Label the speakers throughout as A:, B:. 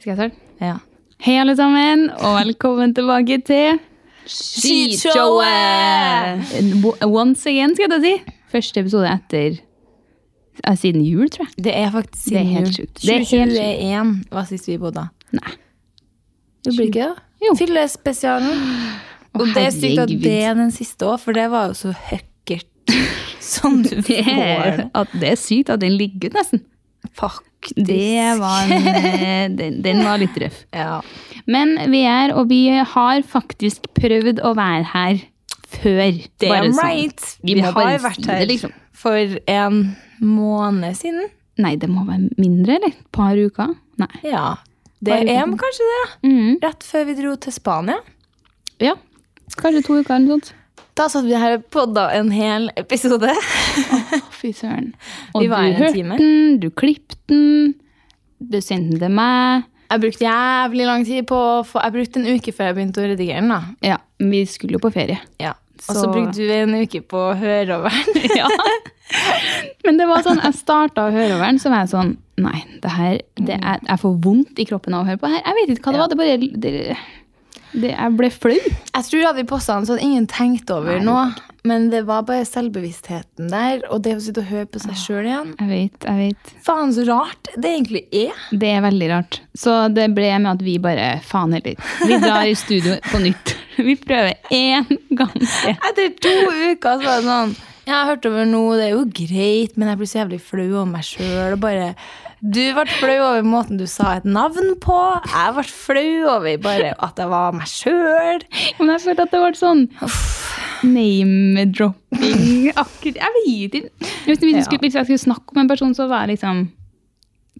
A: Skal jeg starte?
B: Ja.
A: Hei, alle sammen, og velkommen tilbake til
B: Skitshowet!
A: Once again, skal jeg ta si. Første episode etter eh, Siden jul, tror jeg.
B: Det er faktisk
A: Det er
B: siden
A: helt
B: jul.
A: sjukt. Det er helt
B: 2021 var sist vi bodde.
A: Nei.
B: Det blir ikke det?
A: Jo.
B: Fyllespesialen.
A: Å,
B: Og det er sykt at
A: herregud.
B: det er den siste òg, for det var jo så høkkert som du
A: Det er,
B: får.
A: at det er sykt at den ligger ut, nesten.
B: Faktisk.
A: Det var en, eh, den, den var litt røff.
B: Ja.
A: Men vi er, og vi har faktisk prøvd å være her før.
B: Damn
A: sånn.
B: right.
A: Vi
B: Vi,
A: må
B: har
A: bare
B: jo vært
A: si
B: her
A: det, liksom.
B: for en måned siden.
A: Nei, det må være mindre, eller? Et par uker? Nei.
B: Ja. Det
A: Bare
B: er
A: uten.
B: kanskje det.
A: Mhm.
B: Rett før vi dro til Spania.
A: Ja. Kanskje to uker eller noe sånt.
B: Da satt vi her og podda en hel episode.
A: Fy søren. Og
B: Vi var
A: du
B: her en
A: hørte
B: time.
A: den, du klippte den, du sendte den til meg.
B: Jeg brukte jævlig lang tid på å få Jeg brukte en uke før jeg begynte å redigere den. da.
A: Ja, vi skulle jo på ferie.
B: Og så
A: Så-
B: brukte du en uke på å høre over den.
A: Ja. Men det var sånn, jeg starta å høre over den, så var jeg sånn Nei, det her det er, Jeg får vondt i kroppen av å høre på det her. Jeg vet ikke hva det var. Det bare det, det, Jeg ble flau.
B: Jeg tror jeg hadde posta den sånn ingen tenkte over
A: Nei.
B: nå. Men det var bare selvbevisstheten der, og det å sitte og høre på seg sjøl igjen.
A: Jeg vet, jeg vet.
B: Faen, så rart det egentlig er.
A: Det er veldig rart. Så det ble med at vi bare Faen heller. Vi drar i studio på nytt. Vi prøver én gang til.
B: Etter to uker så var det sånn Jeg har hørt over nå, det er jo greit, men jeg blir så jævlig flau over meg sjøl. Og bare Du ble flau over måten du sa et navn på. Jeg ble flau over bare at jeg var meg sjøl.
A: Men jeg følte at det var sånn name-dropping akkurat Jeg vet ikke. Hvis, vi
B: Ja.
A: skulle, hvis jeg skulle snakke om en person, så var jeg liksom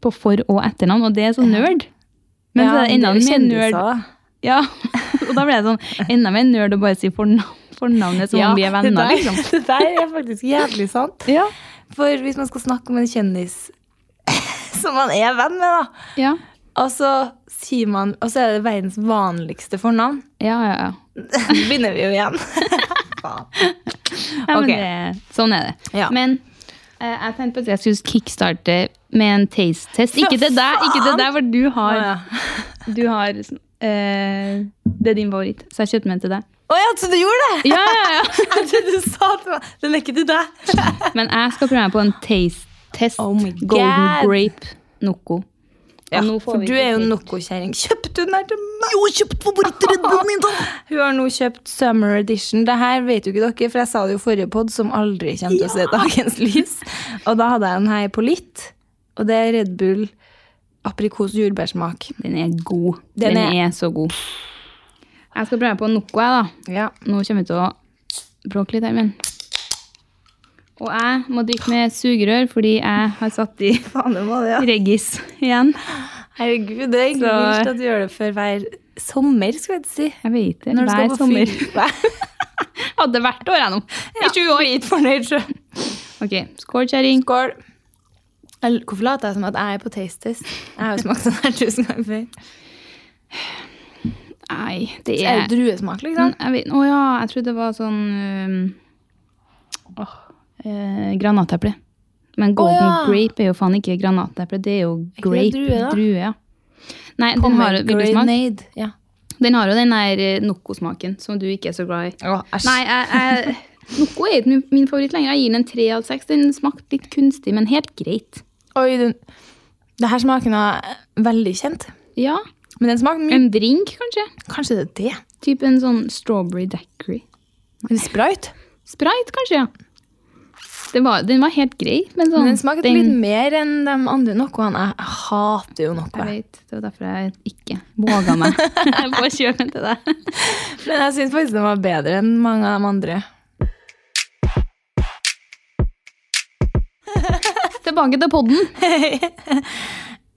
A: på for- og etternavn, og det er så nerd. Men så er det enda mer nerd. Ja. Og da ble det sånn enda mer nerd å bare si fornavn, fornavnet som om vi er
B: det
A: venner,
B: der,
A: liksom.
B: Det der er faktisk jævlig sant.
A: Ja.
B: For hvis man skal snakke om en kjendis som man er venn med, da,
A: Ja,
B: og så, sier man, og så er det verdens vanligste fornavn,
A: ja, ja. ja.
B: nå begynner vi jo igjen. Faen.
A: Ja, men
B: Ok.
A: det, sånn er det.
B: Ja.
A: Men eh, jeg tenkte på at jeg skulle kickstarte med en taste-test. Ikke til deg, ikke til deg, for du
B: Å
A: har,
B: ja.
A: du har eh, Det er din favoritt, så jeg kjøpte den til deg.
B: Å ja, så du gjorde det?
A: Ja, ja, ja.
B: Jeg trodde du sa til meg Den er ikke til deg.
A: Men jeg skal prøve meg på en taste-test.
B: Oh my
A: Golden
B: God.
A: grape Noco.
B: Ja,
A: Og nå får
B: for
A: vi
B: du er jo
A: kritikk.
B: Noco-kjerring. Kjøpte hun den her til meg? Jo, kjøpt favorittredden min, da! Hun har nå kjøpt Summer Edition. Det her vet jo ikke dere, for jeg sa det jo i forrige pod, som aldri kommer til å se dagens lys. Og da hadde jeg den her på litt, og det er Red Bull aprikos jordbærsmak.
A: Den er god.
B: Den
A: Den, er... så god. Jeg skal prøve meg på Noco, jeg, da.
B: Ja.
A: Nå kommer vi til å bråke litt her, men Og jeg må drikke med sugerør fordi jeg har satt i
B: Faen, det var det, ja.
A: Reggis igjen.
B: Herregud, det er egentlig
A: Så-
B: vilt at du gjør det før hver sommer, skal jeg ikke si.
A: Jeg vet det.
B: Når du
A: Hver
B: skal på
A: sommer.
B: fyr.
A: Hadde hvert år, jeg nå. I 20 år.
B: Litt fornøyd sjøl.
A: Ok, skål, kjerring.
B: Skål. Eller, Hvorfor later jeg som at jeg er på taste test? Jeg har jo smakt sånn her tusen ganger før.
A: Nei, det
B: Det er
A: er
B: jo druesmak, liksom.
A: Jeg vet- Å ja, jeg trodde det var sånn um, åh, eh, Granateple. Men golden
B: ja.
A: grape er jo faen ikke granateple, det er jo
B: ikke det
A: grape.
B: drue, da?
A: drue, ja. Nei, den har, jo- vil du smake?
B: Pomegranate, Ja.
A: Den har jo den der eh, Noco-smaken som du ikke er så glad i.
B: Å, æsj.
A: Nei, jeg, jeg, Noco er ikke min- min favoritt lenger. Jeg gir den en tre av seks. Den smakte litt kunstig, men helt greit.
B: Oi, den, det her smaker noe veldig kjent.
A: Ja,
B: Men den smaker mye.
A: En drink, kanskje?
B: Kanskje det er det?
A: Typ en sånn strawberry daiquiri.
B: En sprite?
A: Sprite, kanskje? ja. Det var, den var helt grei, men sånn
B: Men den smaker litt mer enn de andre nokoene. Jeg hater jo noe.
A: Jeg vet, Det var derfor jeg ikke våga meg på å kjøpe den til deg.
B: Men jeg syns faktisk den var bedre enn mange av de andre.
A: Tilbake til podden.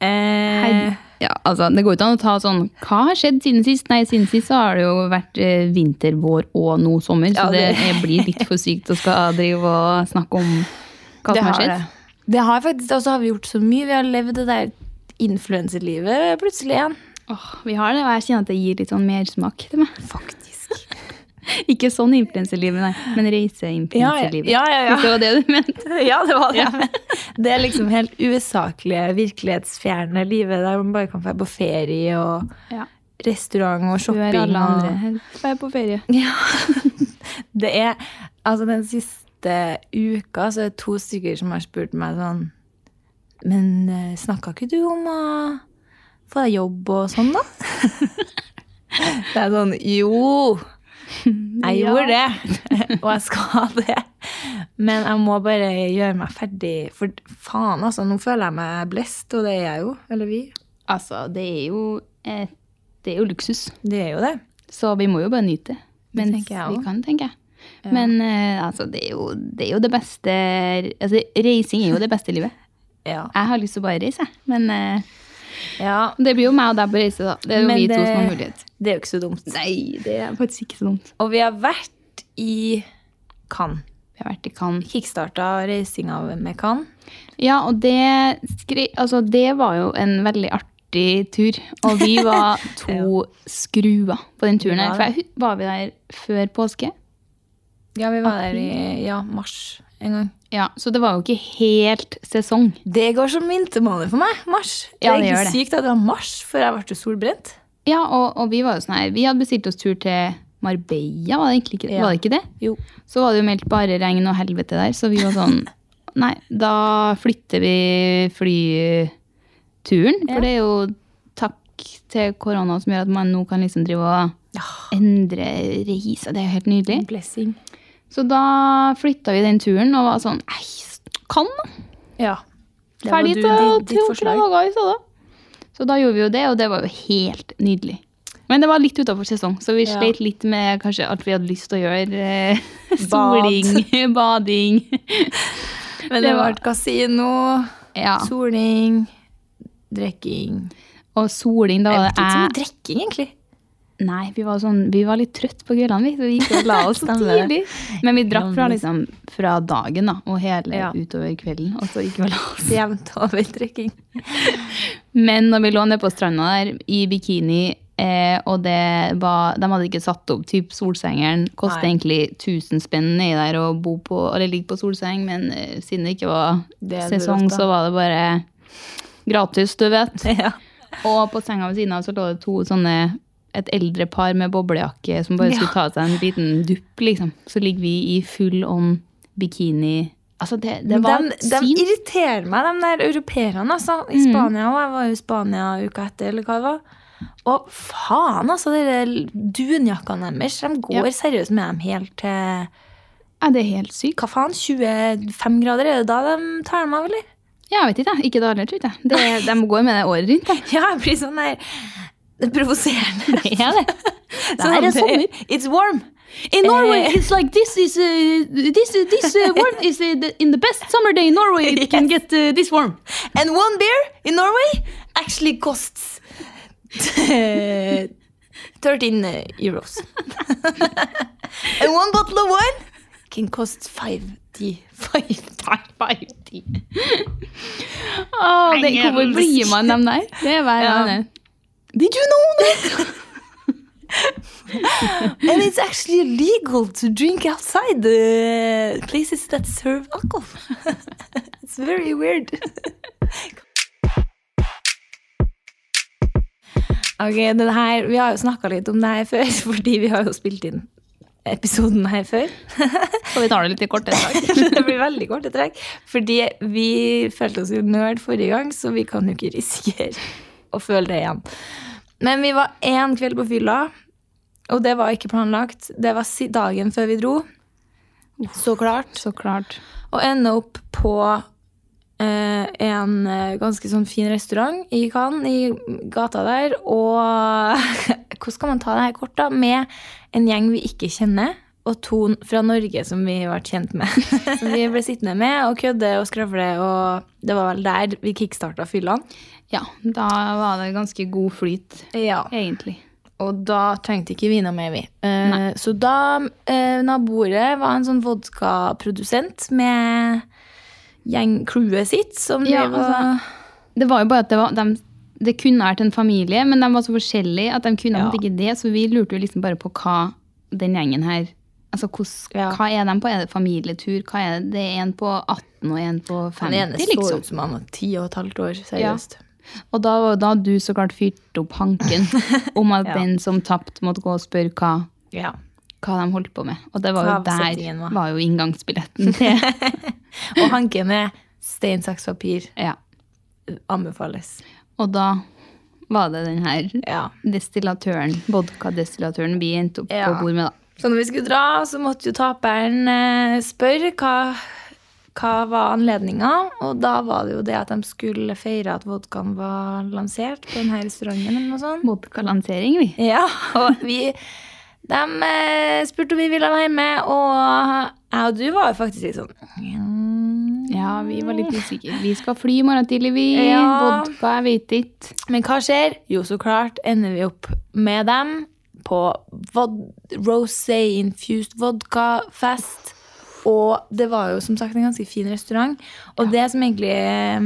B: Eh,
A: Ja, altså, det går ikke an å ta sånn Hva har skjedd siden sist? Nei, siden sist så har det jo vært eh, vinter, vår og nå sommer, så
B: Ja,
A: det,
B: det-
A: eh, blir litt for sykt å skal drive og snakke om hva som har skjedd.
B: Det. det har faktisk, og så har vi gjort så mye. Vi har levd det der influenserlivet plutselig igjen.
A: Åh, vi har det, og jeg kjenner at det gir litt sånn mersmak til meg.
B: Faktisk.
A: Ikke sånn influenserlivet, nei, men reiseinfluenserlivet.
B: Ja, ja, ja, ja.
A: Hvis det var det du mente.
B: Ja, det var det.
A: Ja.
B: Det er liksom helt usaklige, virkelighetsfjerne livet der man bare kan dra på ferie og
A: Ja.
B: restaurant og
A: Du er
B: shopping.
A: alle
B: og-
A: andre. Vær på ferie.
B: Ja. Det er Altså, den siste uka så er det to stykker som har spurt meg sånn Men eh, snakka ikke du om å få deg jobb og sånn, da? Det er sånn Jo! Jeg
A: Ja.
B: gjorde det, og jeg skal det. Men jeg må bare gjøre meg ferdig. For faen, altså. Nå føler jeg meg blest, og det er jeg jo. Eller vi.
A: Altså, det er jo, et, det er jo luksus.
B: Det er jo det.
A: Så vi må jo bare nyte det.
B: Det
A: Mens
B: tenker jeg
A: vi
B: også.
A: kan, tenker jeg. Men eh, altså, det er, jo, det er jo det beste altså, Reising er jo det beste livet.
B: Ja.
A: Jeg har lyst til å bare reise, jeg. men eh,
B: ja.
A: det blir jo meg og deg på reise, da. Det er jo
B: Men
A: vi to
B: det-
A: som har mulighet.
B: Det er jo ikke så dumt.
A: Nei, det er faktisk ikke så dumt.
B: Og vi har vært i Cannes.
A: Vi har vært i Cannes.
B: Kickstarta reisinga med Cannes.
A: Ja, og det, skri, altså, det var jo en veldig artig tur. Og vi var to skruer på den turen. her.
B: Ja.
A: For jeg, hu- var vi der før påske?
B: Ja, vi var der i ja, mars en gang.
A: Ja, Så det var jo ikke helt sesong.
B: Det går som vintermåned for meg. Mars.
A: Ja,
B: det
A: det
B: er
A: gjør
B: egentlig
A: det.
B: sykt at det var mars, for jeg ble jo solbrent.
A: Ja, og, og vi var jo sånn her, vi hadde bestilt oss tur til Marbella, var det egentlig ikke,
B: Ja.
A: var det, ikke det?
B: Jo.
A: Så var det jo meldt bare regn og helvete der, så vi var sånn, nei, da flytter vi flyturen, for det er jo takk til korona som gjør at man nå kan liksom drive og
B: Ja.
A: endre reiser, det er jo helt nydelig.
B: Blessing.
A: Så da flytta vi den turen og var sånn, nei, s- kan da?
B: Ja. Det var
A: Ferdig
B: du-
A: til
B: ditt- ditt
A: to
B: forslag.
A: dager i stedet. Så da gjorde vi jo det, og det var jo helt nydelig. Men det var litt utafor sesong, så vi
B: Ja.
A: sleit litt med kanskje alt vi hadde lyst til å gjøre. eh,
B: Bad.
A: Soling, bading.
B: Men det
A: Det
B: var
A: var-
B: et kasino,
A: Ja.
B: soling, drikking
A: Og soling, da
B: Jeg
A: var
B: vet
A: det
B: ikke så mye
A: jeg
B: drikking, egentlig.
A: Nei, vi var, sånn, vi var litt trøtt på kveldene, vi. Så vi gikk og la oss så
B: Stemmer
A: tidlig.
B: det.
A: Men vi drakk fra, liksom, fra dagen da, og hele
B: Ja.
A: utover kvelden. Og så gikk vi og la oss.
B: Jevnt over drikking.
A: Men når vi lå nede på stranda der i bikini, eh, og det var, de hadde ikke satt opp typ solsengeren, kostet
B: Nei.
A: egentlig 1000 spenn nedi der å bo på, eller ligge på solseng, men eh, siden det ikke var
B: Det er
A: sesong,
B: rått, da.
A: så var det bare gratis, du vet.
B: Ja.
A: Og på senga ved siden av så lå det to sånne et eldre par med boblejakke som bare
B: Ja.
A: skulle ta seg en liten dupp, liksom. Så ligger vi i full om bikini. Altså, det, det
B: Men
A: var
B: de,
A: et
B: de
A: syn.
B: irriterer meg, de der europeerne, altså. I
A: Mm.
B: Spania òg. Jeg var jo i Spania uka etter, eller hva det var. Og faen, altså. De der dunjakkene deres. De går
A: Ja.
B: seriøst med dem helt til
A: Ja, det er helt sykt.
B: Hva faen? 25 grader? Er det da de tar dem av, eller?
A: Ja, Jeg vet ikke, jeg. Ikke dårligere, tror jeg. Det, de går med det året rundt. jeg.
B: Ja, jeg blir sånn der Det er provoserende.
A: Det er det.
B: Sånn,
A: er det sommer. Eh,
B: It's warm.
A: In
B: Norway,
A: it's like this is uh, this, warm is in the best summer day in Norway it can get uh, this warm.
B: And one beer in Norway actually costs eh, 13 uh, euros. And one bottle of wine can cost 5D.
A: det, hvorfor blir man dem der? Det er hver
B: Ja.
A: gang. det.
B: Did you know that? and it's actually legal to drink outside the places that serve alcohol. it's very weird. Ok, den her, Vi har jo snakka litt om det her før, fordi vi har jo spilt inn episoden her før.
A: Så vi tar det litt i korte trekk.
B: det blir veldig korte trekk. Fordi vi følte oss jo nerd forrige gang, så vi kan jo ikke risikere å føle det igjen. Men vi var én kveld på fylla, og det var ikke planlagt. Det var si- dagen før vi dro. Så klart.
A: Så klart.
B: Og ende opp på eh, en eh, ganske sånn fin restaurant i Cannes, i gata der. Og hvordan skal man ta det her kort, da? Med en gjeng vi ikke kjenner, og to fra Norge som vi ble kjent med. som vi ble sittende med og kødde og skravle, og det var vel der vi kickstarta fyllene.
A: Ja, da var det ganske god flyt,
B: Ja.
A: egentlig.
B: Og da trengte ikke vi noe mer, vi. Eh, så da eh, Naboret var en sånn vodkaprodusent med gjengcrewet sitt. Som
A: Ja,
B: drev og-
A: altså, Det var jo bare at det var dem- det kunne vært en familie, men de var så forskjellige at de kunne på en måte ikke det, så vi lurte jo liksom bare på hva den gjengen her Altså, hos,
B: Ja.
A: Hva er de på? Er det familietur? Hva er det? det er en på 18 og en på
B: Han
A: 50,
B: ene så
A: liksom.
B: ut som han var ti og et halvt år, seriøst.
A: Og da var- da hadde du så klart fyrt opp hanken om at
B: Ja.
A: den som tapte, måtte gå og spørre hva,
B: Ja.
A: hva de holdt på med. Og det var jo
B: Avsettingen var.
A: der var jo inngangsbilletten til
B: Og Hanken er stein, saks, papir.
A: ja.
B: Anbefales.
A: Og da var det den her
B: Ja.
A: destillatøren, vodkadestillatøren vi endte opp
B: Ja.
A: på bord med, da.
B: Så når vi skulle dra, så måtte jo taperen eh, spørre hva, hva var anledninga. Og da var det jo det at de skulle feire at vodkaen var lansert på denne restauranten. eller noe sånt.
A: Vodkalansering, vi.
B: Ja, og vi De eh, spurte om vi ville være med, og jeg og du var jo faktisk litt sånn «Mm,
A: Ja, vi var litt usikre. Vi skal fly i morgen tidlig, vi.
B: Ja.
A: Vodka, jeg vet ikke.
B: Men hva skjer? Jo, så klart ender vi opp med dem på vod rosé-infused vodka-fest. Og det var jo som sagt en ganske fin restaurant. Og det som egentlig eh,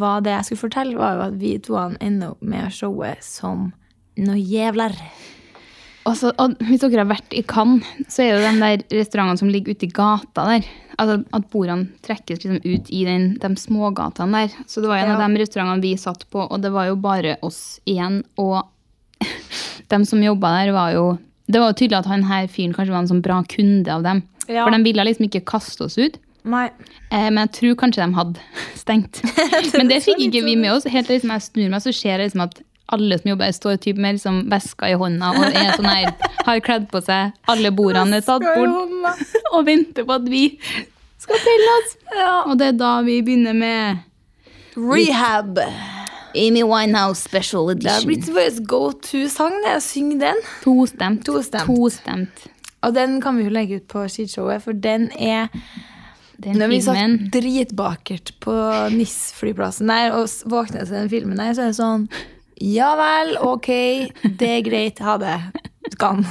B: var det jeg skulle fortelle, var jo at vi to ender opp med showet som noe jævler.
A: Og så- og hvis dere har vært i Cannes, så er det de der restaurantene som ligger ute i gata der. Altså At bordene trekkes liksom ut i den, de smågatene der. Så det var en
B: Ja.
A: av de restaurantene vi satt på, og det var jo bare oss igjen. Og de som jobba der, var jo Det var jo tydelig at han her fyren kanskje var en sånn bra kunde av dem.
B: Ja.
A: For de ville liksom ikke kaste oss ut.
B: Nei.
A: Eh, men jeg tror kanskje de hadde stengt. Men det fikk ikke vi med oss. Helt til liksom jeg snur meg, så ser jeg liksom at alle som jobber her, står typ med liksom veska i hånda og er sånn her, har kledd på seg. Alle bordene er tatt bort og venter på at vi skal pelle oss.
B: Ja.
A: Og det er da vi begynner med
B: Rehab.
A: Amy Winehouse Special
B: Det har blitt vår go to-sang, det. Syng den.
A: Tostemt.
B: Tostemt.
A: Tostemt.
B: Og den kan vi jo legge ut på skishowet, for den er
A: Den
B: Når vi
A: filmen.
B: satt dritbakert på NIS-flyplassen der og s- våknet til den filmen der, så er det sånn Ja vel, ok, det er greit, ha det. Skan.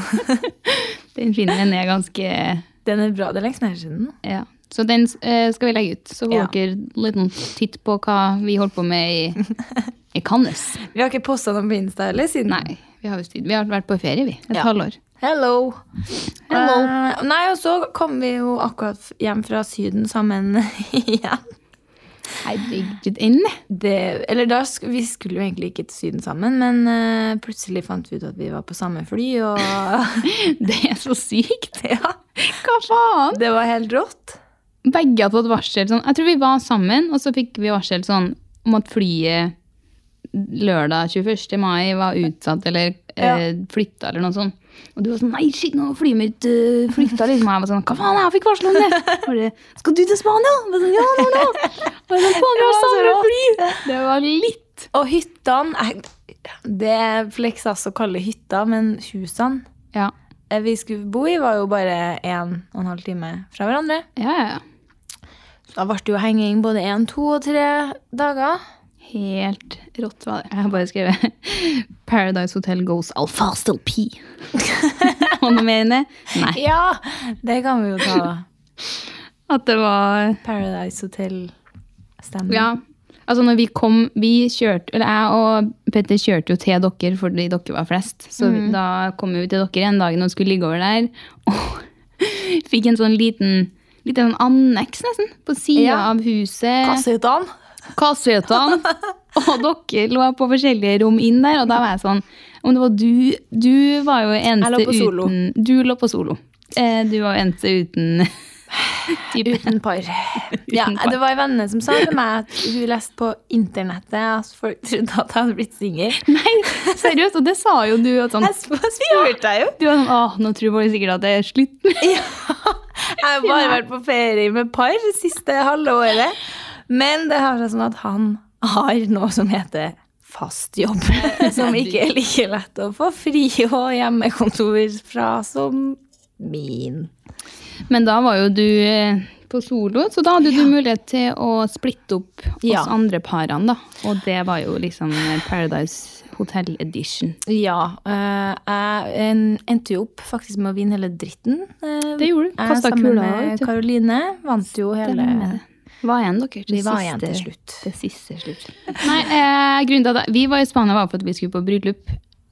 A: Den filmen er ganske
B: Den er bra. Det er lenge siden.
A: Ja. Så den eh, skal vi legge ut. Så får
B: Ja.
A: dere en liten titt på hva vi holdt på med i, i Cannes.
B: Vi har ikke posta den på Insta heller siden.
A: Nei, vi har, jo tid. vi har vært på ferie, vi. Et
B: Ja.
A: halvår.
B: Hello. Eh, nei, og så kom vi jo akkurat f- hjem fra Syden sammen igjen.
A: Herregud, inn.
B: Det, eller da, sk- vi skulle jo egentlig ikke til Syden sammen, men eh, plutselig fant vi ut at vi var på samme fly, og
A: Det er så sykt!
B: ja,
A: Hva faen?
B: det var helt rått.
A: Begge hadde fått varsel sånn. Jeg tror vi var sammen, og så fikk vi varsel sånn om at flyet lørdag 21. mai var utsatt eller eh, flytta eller noe sånt. Og du var sånn Nei, shit, nå flyet mitt eh, flytta liksom. Og jeg var sånn Hva faen, jeg fikk varsel om det! Og Bare, Skal du til Spania? Og jeg var sånn, ja, nå, nå! Og jeg var sånn, faen, vi
B: Det
A: har
B: var så
A: samme
B: rått.
A: fly! Det var litt.
B: Og hyttene eh, Det flekses å kalle hytta, men husene
A: Ja,
B: eh, vi skulle bo i, var jo bare en og en halv time fra hverandre.
A: ja, ja. ja.
B: Da ble det jo henging både én, to og tre dager.
A: Helt rått var det. Jeg har bare skrevet Paradise Hotel goes alfast LP. Og noe mer enn det? Nei.
B: Ja! Det kan vi jo ta.
A: At det var
B: Paradise Hotel-stemning.
A: Ja. Altså når vi kom Vi kjørte Eller jeg og Petter kjørte jo til dere fordi dere var flest. Så
B: Mm.
A: da kom vi jo til dere en dag når vi skulle ligge over der, og fikk en sånn liten Liten sånn anneks, nesten, på sida
B: Ja.
A: av huset.
B: Kassehyttene.
A: kassetene. Og dere lå på forskjellige rom inn der, og da var jeg sånn Om det var du Du var jo eneste
B: Jeg lå på solo.
A: uten Du lå på solo. Eh, du var jo eneste uten type.
B: Uten par. Ja,
A: par.
B: det var en venninne som sa til meg at hun leste på internettet at folk trodde at jeg hadde blitt singel.
A: Nei, seriøst, og det sa jo du. At sånn,
B: Jeg spurte deg jo.
A: du var sånn Åh, nå tror folk sikkert at det er slutt.
B: Ja. Jeg har bare vært på ferie med par det siste halve året. Men det har seg sånn at han har noe som heter fast jobb. Som ikke er like lett å få fri og hjemmekontor fra som min.
A: Men da var jo du eh, på solo, så da hadde du mulighet til å splitte opp oss
B: Ja.
A: andre parene, da. Og det var jo liksom Paradise Hotel Edition.
B: Ja. eh, jeg en- endte jo opp faktisk med å vinne hele dritten. eh,
A: Det gjorde du.
B: jeg
A: Kastet
B: sammen
A: kula, vet
B: med
A: du.
B: Karoline. Vant jo hele
A: eh, Hva igjen, dere?
B: Vi var igjen til slutt.
A: Det siste slutt. Nei, eh, grunnen til at Vi var i Spania var for at vi skulle på bryllup.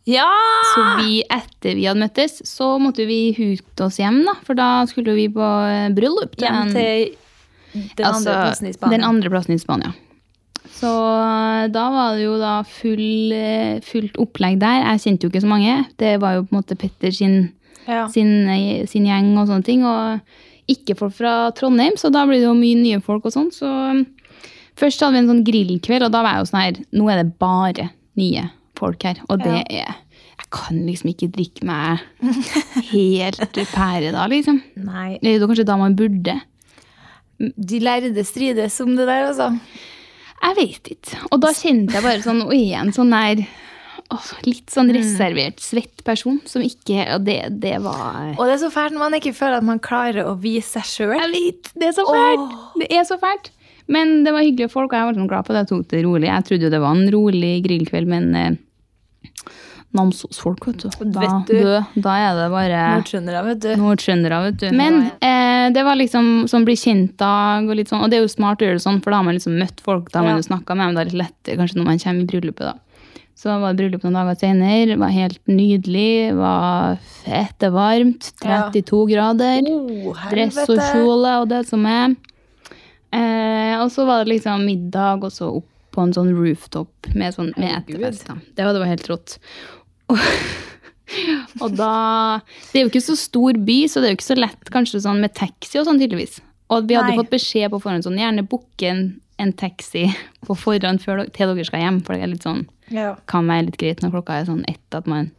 B: Ja!
A: Så
B: Ah!
A: vi, etter vi hadde møttes, så måtte vi hute oss hjem, da. For da skulle vi på eh, bryllup. til en-
B: Hjem til den
A: altså,
B: andre plassen i Spania.
A: Den andre plassen i Spania. Så eh, da var det jo da full, eh, fullt opplegg der. Jeg kjente jo ikke så mange. Det var jo på en måte Petter sin,
B: Ja.
A: sin, eh, sin gjeng og sånne ting. Og ikke folk fra Trondheim, så da blir det jo mye nye folk og sånn. Så um, først hadde vi en sånn grillkveld, og da var jeg jo sånn her Nå er det bare nye folk her. Og det er Jeg kan liksom ikke drikke meg helt pære da, liksom.
B: Nei.
A: Det er jo kanskje da man burde.
B: De lærde strides om det der, altså.
A: Jeg vet ikke. Og da kjente jeg bare sånn, og igjen sånn der åh, Litt sånn reservert, svett person som ikke Og det, det var
B: Og det er så fælt når man ikke føler at man klarer å vise seg sjøl.
A: Jeg vet! Det er så fælt! Det er så fælt. Men det var hyggelige folk, og jeg var sånn glad på det. Jeg tok det rolig. Jeg trodde jo det var en rolig grillkveld, men eh, Namsos-folk, vet du. Da,
B: Vet du.
A: du, da er det bare
B: Nordtrøndere, vet du.
A: Nordtrøndere, vet du. Men eh, det var liksom sånn bli kjent-dag, og litt sånn, og det er jo smart å gjøre det sånn, for da har man liksom møtt folk, da har man
B: Ja.
A: jo snakka med dem, det er litt lettere kanskje når man kommer i bryllupet, da. Så da var det bryllup noen dager senere, det var helt nydelig, var fette varmt, 32 grader,
B: Oh,
A: dress og kjole og det som er. Eh, og så var det liksom middag, og så opp på en sånn rooftop med, sånn, med etterfest. da. Det var, det var helt rått. Og da Det er jo ikke så stor by, så det er jo ikke så lett kanskje sånn med taxi og sånn, tydeligvis. Og vi hadde
B: Nei.
A: fått beskjed på forhånd sånn gjerne booke en, en taxi på forhånd før, dere- til dere skal hjem, for det er litt sånn
B: Ja.
A: kan være litt greit når klokka er sånn ett, at man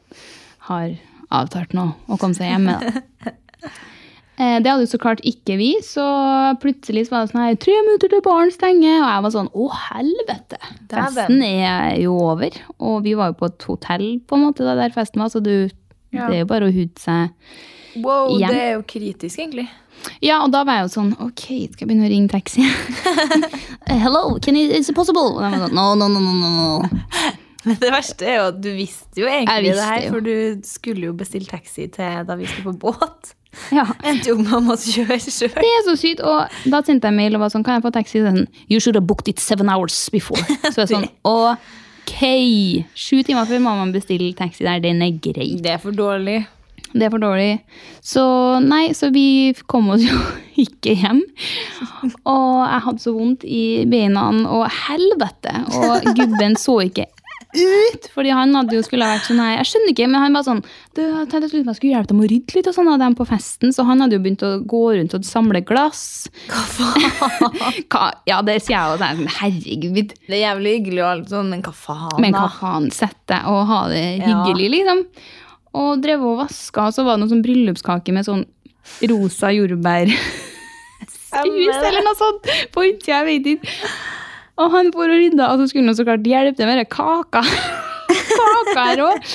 A: har avtalt noe og kommet seg hjemme. Da. Eh, Det hadde jo så klart ikke vi, så plutselig så var det sånn her Tre minutter til baren stenger! Og jeg var sånn Å, helvete!
B: Dæven.
A: Festen er jo over. Og vi var jo på et hotell på en måte da der festen var, så du,
B: Ja.
A: det er jo bare å hute seg.
B: Wow,
A: Igjen.
B: det er jo kritisk, egentlig.
A: Ja, og da var jeg jo sånn Ok, skal jeg begynne å ringe taxi? Hello, can you, is it possible? Og de var sånn No, no, no, no, no, no.
B: Men det verste er jo at du visste jo
A: Jeg
B: egentlig
A: visste
B: det her,
A: jo.
B: for du skulle jo bestille taxi til da vi skulle på båt.
A: Ja.
B: Endte jo med å måtte kjøre sjøl.
A: Det er så sykt. Og da sendte jeg mail og var sånn, kan jeg få taxi? Den, you should have booked it seven hours before. Så jeg sånn, ok. Sju timer før må man bestille taxi der, den er grei.
B: Det er for dårlig.
A: Det er for dårlig. Så nei, så vi kom oss jo ikke hjem. Og jeg hadde så vondt i beina, og helvete! Og gubben så ikke ut, fordi han hadde jo skulle ha vært sånn her, jeg skjønner ikke, men han var sånn du, jeg tenkte jeg skulle- jeg skulle hjelpe dem å rydde litt og sånn av dem på festen, så han hadde jo begynt å gå rundt og samle glass.
B: Hva faen?
A: Hva? Ja, det sier jeg jo, så er jeg sånn, herregud.
B: Det er jævlig hyggelig og alt sånn, men hva faen,
A: Men hva faen, sett deg og ha det hyggelig, liksom. Og drev og vaska, og så var det noen sånn bryllupskake med sånn rosa jordbærhus
B: da?
A: eller noe sånt på utsida, jeg vet ikke. Og han for og rydda, og så skulle han så klart hjelpe til med den kaka. kaka her òg.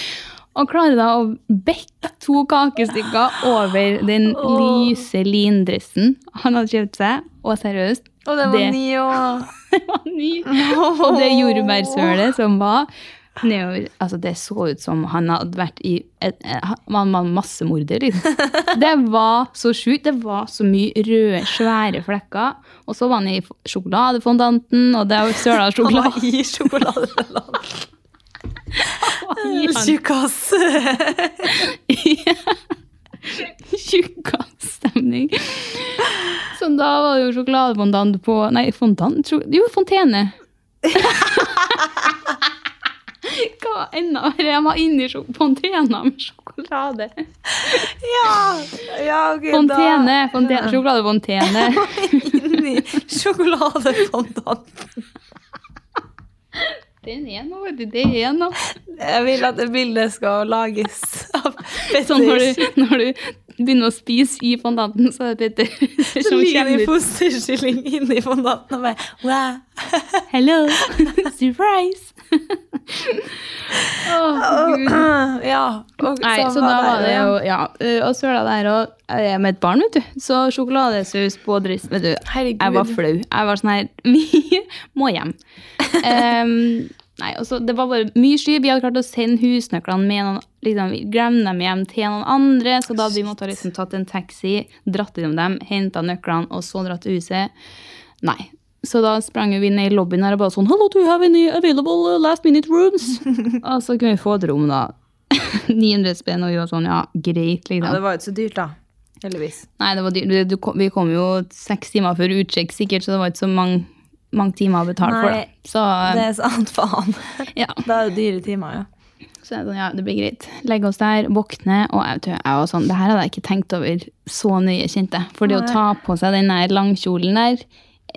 A: Og klarer da å bekke to kakestykker over den
B: Åh.
A: lyse lindressen han hadde kjøpt seg. Og seriøst,
B: Og det var
A: Det-
B: ni og
A: det var ny. Og det jordbærsølet som var nedover Altså, det så ut som han hadde vært i et, Man var massemorder, liksom. Det var så sjukt. Det var så mye røde, svære flekker. Og så var han i f- sjokoladefondanten, og det var søla
B: Han
A: sjokolade.
B: var i sjokoladeland. Tjukkas.
A: Tjukkasstemning. Så da var det jo sjokoladefondant på Nei, fondant? tro- Jo, fontene. Hva enda verre? Jeg var inni sjok- fontena med sjokolade.
B: Ja, ja, ok,
A: Fontene, fontene, sjokoladefontene.
B: Inni sjokoladefondanten.
A: Den er noe, vet du. Det er noe.
B: Jeg vil at det bildet skal lages av Petter.
A: Sånn når du, når du begynner å spise i fondanten, så er det Petter
B: Så
A: som
B: ligger
A: kommer
B: det en
A: ut.
B: fosterskilling inni fondanten og bare wow.
A: Hello! Surprise! Åh, Gud.
B: Ja. Og, sånn
A: Nei, så, da var det jo ja, ø, Og søla der og jeg er med et barn, vet du. Så sjokoladesaus på dress Vet du,
B: Herregud.
A: jeg var flau. Jeg var sånn her Vi må hjem. Em, nei, og så Det var bare mye sky. Vi hadde klart å sende husnøklene med noen liksom, Vi glemme dem hjem til noen andre, så da hadde vi måttet ha liksom tatt en taxi, dratt innom dem, henta nøklene og så dratt til huset. Nei. Så da sprang jo vi ned i lobbyen her og bare sånn Hello, do you have any available uh, last minute rooms? og så kunne vi få et rom, da. 900 spenn, og vi var sånn, ja, greit,
B: Ja, det
A: liksom.
B: var jo ikke så dyrt, da. Heldigvis.
A: Nei, det var dyrt. Du- Du, kom- vi kom jo seks timer før utsjekk sikkert, så det var ikke så mange, mange timer å betale for. Da.
B: Nei,
A: Så,
B: Det er sant, faen.
A: ja.
B: Da er det dyre timer, ja.
A: så er det sånn, ja, det blir greit. Legge oss der, våkne, og jeg, tror jeg var sånn, det her hadde jeg ikke tenkt over så nøye, kjente jeg. For det å
B: Nei.
A: ta på seg den der langkjolen der,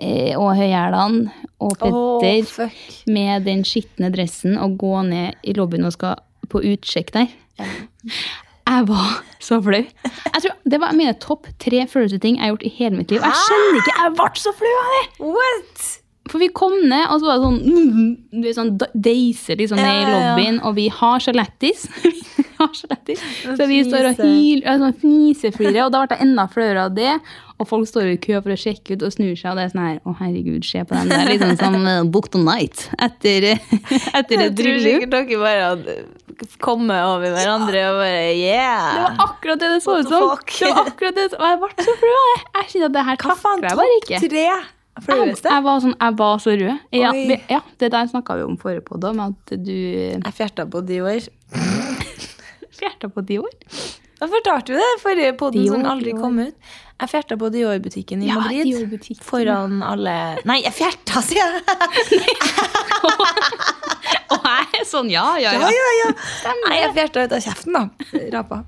A: eh, og høyhælene, og
B: Åh,
A: Petter,
B: fuck.
A: med den skitne dressen, og gå ned i lobbyen og skal på utsjekk der. Jeg var så flau. Jeg tror Det var mine topp tre følelseting jeg har gjort i hele mitt liv. Og jeg skjønner ikke, jeg ble så flau av det!
B: What?
A: For vi kom ned, og så var det sånn mm, Du er sånn da- deiser liksom ned i
B: Ja, ja, ja.
A: lobbyen, og vi har så lættis. Vi har så lættis.
B: Å,
A: Så vi står og
B: fise.
A: hyler, ja, sånn fniseflirer, og da ble jeg enda flauere av det. Og folk står i kø for å sjekke ut og snur seg, og det er sånn her Å, herregud, se på den der. Liksom som eh, Book Tonight etter, eh, etter
B: Jeg
A: et
B: tror
A: bryllup.
B: sikkert dere bare hadde kommet over hverandre og bare
A: Det
B: yeah!
A: var akkurat det det så ut
B: What the
A: som.
B: fuck?
A: Det var akkurat det, og jeg ble så flau. Jeg, jeg kjente at det her
B: Hva faen,
A: takler jeg bare
B: topp
A: ikke.
B: tre?
A: Jeg,
B: Flaueste?
A: jeg, var sånn, jeg var så rød. Ja,
B: Oi.
A: vi, ja det der snakka vi om forrige podd òg, med at du eh,
B: Jeg fjerta på Dior.
A: fjerta på Dior.
B: Da fortalte du det i forrige podden
A: Dior,
B: som aldri
A: Dior.
B: kom ut. Jeg fjerta på Dior-butikken i
A: Ja,
B: Madrid.
A: Dior-butikken.
B: Foran alle Nei, jeg fjerta, sier jeg!
A: Og jeg er sånn, ja, ja,
B: Ja,
A: ja.
B: ja, ja. Nei, jeg fjerta ut av kjeften, da. Rapa.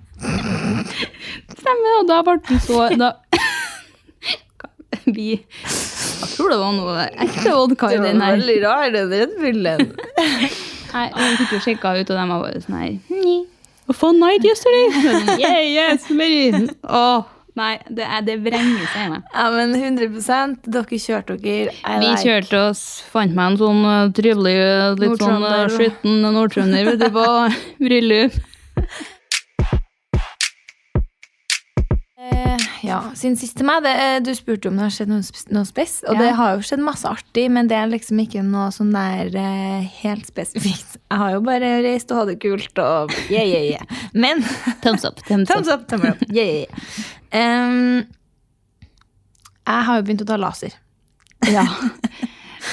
A: Stemmer, og da ble du så da, Vi Jeg tror det var noe ekte vodka i den her.
B: rar, den Red Bullen.
A: Nei, Vi fikk jo sjekka ut, og de var bare sånn her «Ni, A fun night yesterday. yeah, yes, Mary. Åh, nei, det, er- det vrenger seg i meg.
B: Ja, men 100 Dere kjørte dere. I
A: Vi
B: like.
A: kjørte oss, fant meg en sånn eh, trivelig, eh, litt sånn eh,
B: Nordtrønder.
A: skitten nordtrønder vet du, på bryllup.
B: Eh, ja, siden sist til meg, det, eh, du spurte om det har skjedd noe, sp- noe spes, og
A: Ja.
B: det har jo skjedd masse artig, men det er liksom ikke noe sånn der eh, helt spesifikt. Jeg har jo bare reist og hatt det kult, og yeah, yeah, yeah. Men,
A: Thumbs up. Thumbs
B: thumbs up, thumbs up, yeah, yeah, yeah. Em, jeg har jo begynt å ta laser
A: Ja.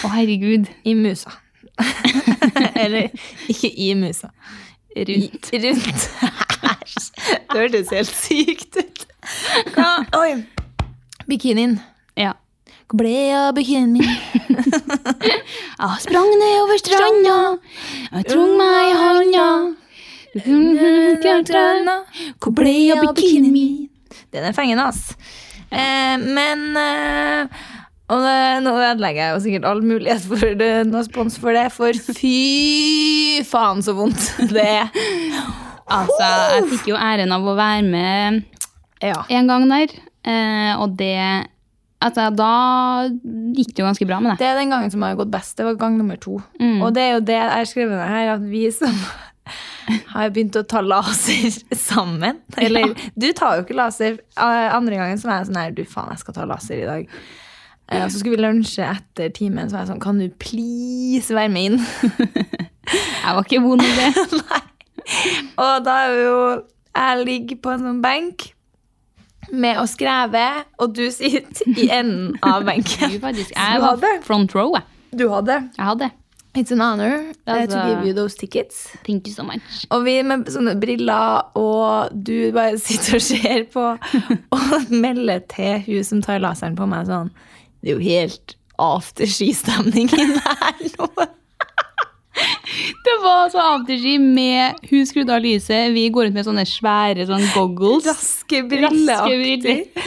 A: Å, herregud.
B: i musa. Eller, ikke i musa.
A: Rundt.
B: I- Rundt. Æsj. det hørtes helt sykt ut. Hva? Oi, bikinien.
A: Ja.
B: Hvor ble jeg av bikinien min?
A: Jeg sprang ned over stranda, jeg trong meg i handa.
B: Hvor ble jeg av bikinien min? Den er fengende, ass. Eh, men eh, og det, Nå ødelegger jeg jo sikkert all mulighet for det, noe spons for det, for fy faen så vondt det er.
A: Altså, jeg fikk jo æren av å være med
B: Ja.
A: en gang der, eh, og det Altså, da gikk det jo ganske bra med det.
B: Det er den gangen som har gått best. Det var gang nummer to.
A: Mm.
B: Og det er jo det jeg har skrevet ned her, at vi som har begynt å ta laser sammen Eller du tar jo ikke laser. Eh, Andre gangen så var jeg sånn her Du, faen, jeg skal ta laser i dag. Eh, Og så skulle vi lunsje etter timen, så var jeg sånn Kan du please være med inn?
A: Jeg var ikke vond i det.
B: Og da er vi jo Jeg ligger på en sånn benk med å skreve, og du sitter i enden av benken.
A: Du, faktisk.
B: Du
A: Jeg
B: hadde.
A: var front row, jeg.
B: Du hadde.
A: Jeg hadde.
B: It's an honor eh, to
A: Altså-
B: give you those tickets.
A: Thank you so much.
B: Og vi med sånne briller, og du bare sitter og ser på og melder til hun som tar laseren på meg sånn Det er jo helt afterski-stemning inne her nå.
A: Det var så afterski med Hun skrudde av lyset, vi går rundt med sånne svære sånn goggles.
B: Raske
A: Raske
B: brilleaktig.
A: briller.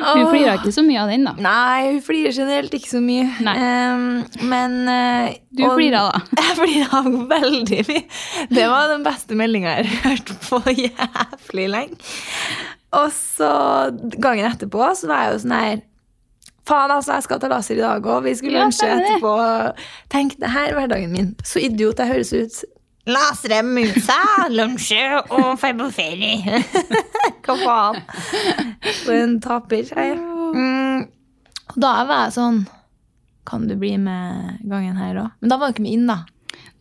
A: Hun flira ikke så mye av den, da.
B: Nei, hun flirer generelt ikke så mye.
A: Nei.
B: Ehm, men eh,
A: Du
B: og-
A: flirer, da.
B: Jeg flira veldig mye. Det var den beste meldinga jeg har hørt på jævlig lenge. Og så gangen etterpå så var jeg jo sånn her Faen, altså, jeg skal ta laser i dag òg. Vi skulle
A: Ja,
B: lunsje
A: stemmer det.
B: etterpå. Tenk, det her er hverdagen min. Så idiot jeg høres ut. Lasere, musa, lunsje og dra på ferie. Hva faen? For en taper jeg er. Mm. Og da var jeg sånn Kan du bli med gangen her òg? Men da var du ikke med inn, da.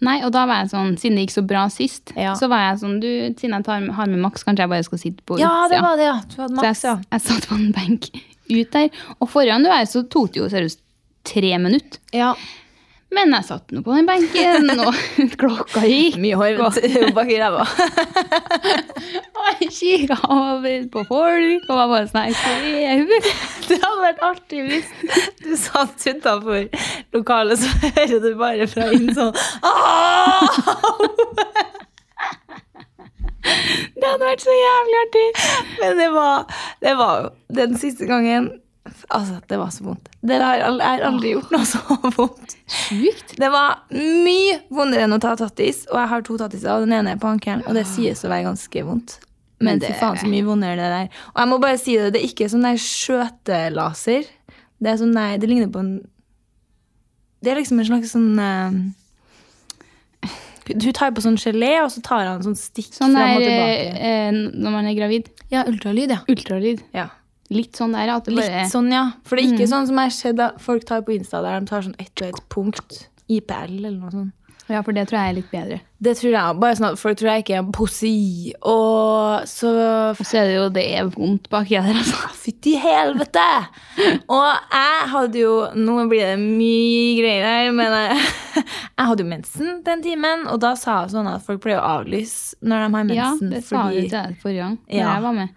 A: Nei, og da var jeg sånn, Siden det gikk så bbra sist,
B: Ja.
A: så var jeg sånn du, Siden jeg tar, har med Max, kanskje jeg bare skal sitte på
B: Ja, det
A: utsida.
B: var det, ja. Du hadde maks,
A: så
B: ja.
A: jeg, jeg satt på en benk ut der. Og foran du er, så tok det jo seriøst tre minutter.
B: ja.
A: Men jeg satt nå på den benken, og klokka gikk.
B: Mye hår bak i ræva.
A: Og jeg kikka over på folk, og var bare sånn Hei, er hun?
B: Det hadde vært artig hvis du satt utafor lokalet, så hører du bare fra inn sånn «Au!»
A: Det hadde vært så jævlig artig.
B: Men det var, det var jo den siste gangen Altså, det var så vondt. Det har, jeg har aldri gjort noe så vondt.
A: Sjukt.
B: Det var mye vondere enn å ta tattis, og jeg har to tattiser, og den ene er på ankelen, og det sies å være ganske vondt. Men
A: Men
B: fy
A: det-
B: faen, så mye vondere det der. Og jeg må bare si det, det er ikke sånn der skjøtelaser. Det er sånn der, det ligner på en Det er liksom en slags sånn eh, Du tar på sånn gelé, og så tar han sånn stikk
A: Sånn
B: fram og
A: der
B: tilbake.
A: eh, når man er gravid.
B: Ja, ultralyd, ja.
A: Ultralyd.
B: ja.
A: Litt sånn der. At det
B: Litt
A: bare,
B: sånn, ja. For det er ikke sånn som jeg har sett at folk tar på Insta, der de tar sånn ett og ett punkt. IPL eller noe sånt.
A: Ja, for det tror jeg er litt bedre.
B: Det tror jeg bare sånn at folk tror jeg ikke er en posi. Og så
A: Og så er det jo det er vondt baki der, altså.
B: Fytti helvete! Og jeg hadde jo Nå blir det mye greier her, men jeg, jeg hadde jo mensen den timen, og da sa jeg sånn at folk pleier å avlyse når de har
A: Ja,
B: mensen.
A: det sa du
B: fordi-
A: til deg forrige gang da
B: Ja.
A: jeg var med.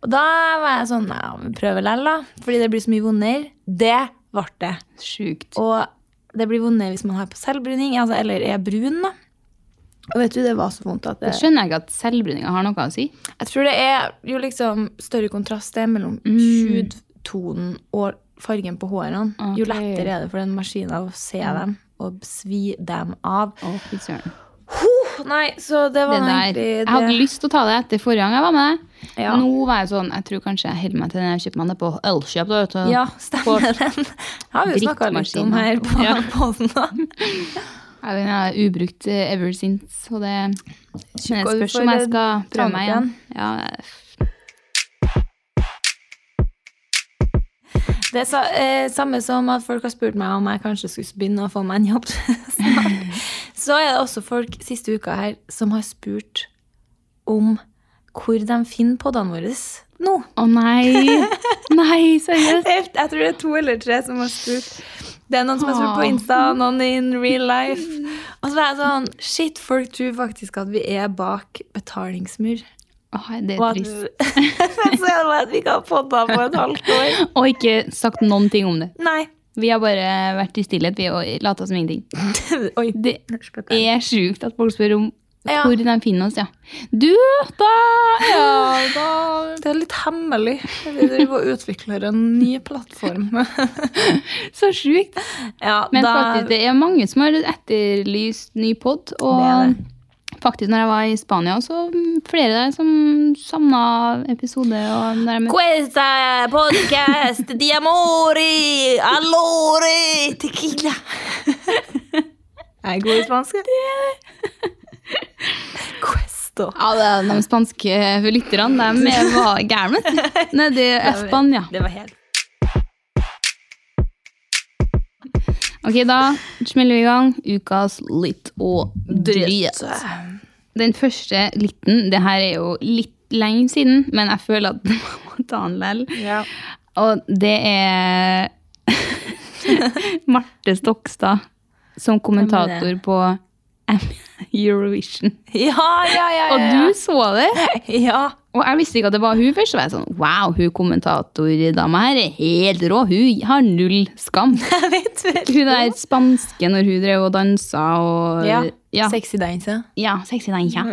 B: Og da var jeg sånn Ja, vi prøver likevel, da. Fordi det blir så mye vondere. Det ble det.
A: Sjukt.
B: Og det blir vondere hvis man har på selvbruning, altså, eller er brun, da. Og vet du, det var så vondt at det,
A: Da skjønner jeg ikke at selvbruninga har noe å si.
B: Jeg tror det er jo liksom større kontrast det er mellom hudtonen og fargen på hårene. Jo
A: Ok.
B: lettere er det for den maskina å se dem og svi dem av.
A: Å, fy søren.
B: Huh, nei, så det
A: Det
B: var nå
A: der.
B: egentlig
A: Jeg hadde lyst til å ta det etter forrige gang jeg var med deg.
B: Ja.
A: Nå var jeg sånn Jeg tror kanskje jeg holder meg til den jeg kjøper meg ned på Elkjøp. da, vet du.
B: Ja, stemmer den. Har vi jo snakka litt om
A: Drittmaskinen.
B: her på
A: Ja.
B: podden da.
A: Ja, Den er ubrukt eh, ever since, og det men
B: og
A: det
B: du
A: spørs
B: får,
A: om jeg
B: eh,
A: skal
B: ta
A: prøve
B: med
A: meg
B: den.
A: igjen. Ja,
B: Det er sa, eh, samme som at folk har spurt meg om jeg kanskje skulle begynne å få meg en jobb snart. Så er det også folk siste uka her som har spurt om hvor de finner podene våre nå.
A: Å nei! Nei, seriøst?
B: Jeg jeg tror det er to eller tre som har spurt. Det er noen som har spurt på
A: Åh.
B: Insta, noen in real life. Og så er jeg sånn Shit, folk tror faktisk at vi er bak betalingsmur.
A: Åh, det
B: Og
A: er
B: at,
A: trist.
B: men så er det bare at vi ikke har podder på et halvt år.
A: Og ikke sagt noen ting om det.
B: Nei.
A: Vi har bare vært i stillhet vi og lata som ingenting.
B: Oi.
A: Det er sjukt at folk spør om
B: Ja.
A: hvor de finner oss, ja. Du, da Ja, da
B: Det er litt hemmelig. Vi driver og utvikler en ny plattform.
A: Så sjukt.
B: ja,
A: Men
B: da,
A: faktisk, det er mange som har etterlyst ny pod. Og
B: Det er
A: faktisk, når jeg var i Spania, så mm, flere der som savna episode. Og når jeg møtte-
B: Questa podcast di amori, allori, tequila. Jeg er god i spansk. Questo.
A: ja, det er de spanske lytterne de er- var gærne. Nede i Spania.
B: Det var helt
A: Ok, da smeller vi i gang. Ukas litt og
B: dritt.
A: dryt. Den første liten, det her er jo litt lenge siden, men jeg føler at man må ta den likevel.
B: Ja.
A: Og det er Marte Stokstad som kommentator på Eurovision.
B: Ja, ja, ja, ja.
A: Og du så det,
B: Ja.
A: og jeg visste ikke at det var hun først. Så var jeg sånn, wow, hun kommentatordama her er helt rå. Hun har null skam.
B: Jeg vet vel.
A: Hun der spanske når hun drev og dansa og
B: Ja.
A: ja.
B: Sexy dance.
A: Ja, sexy nei, ja.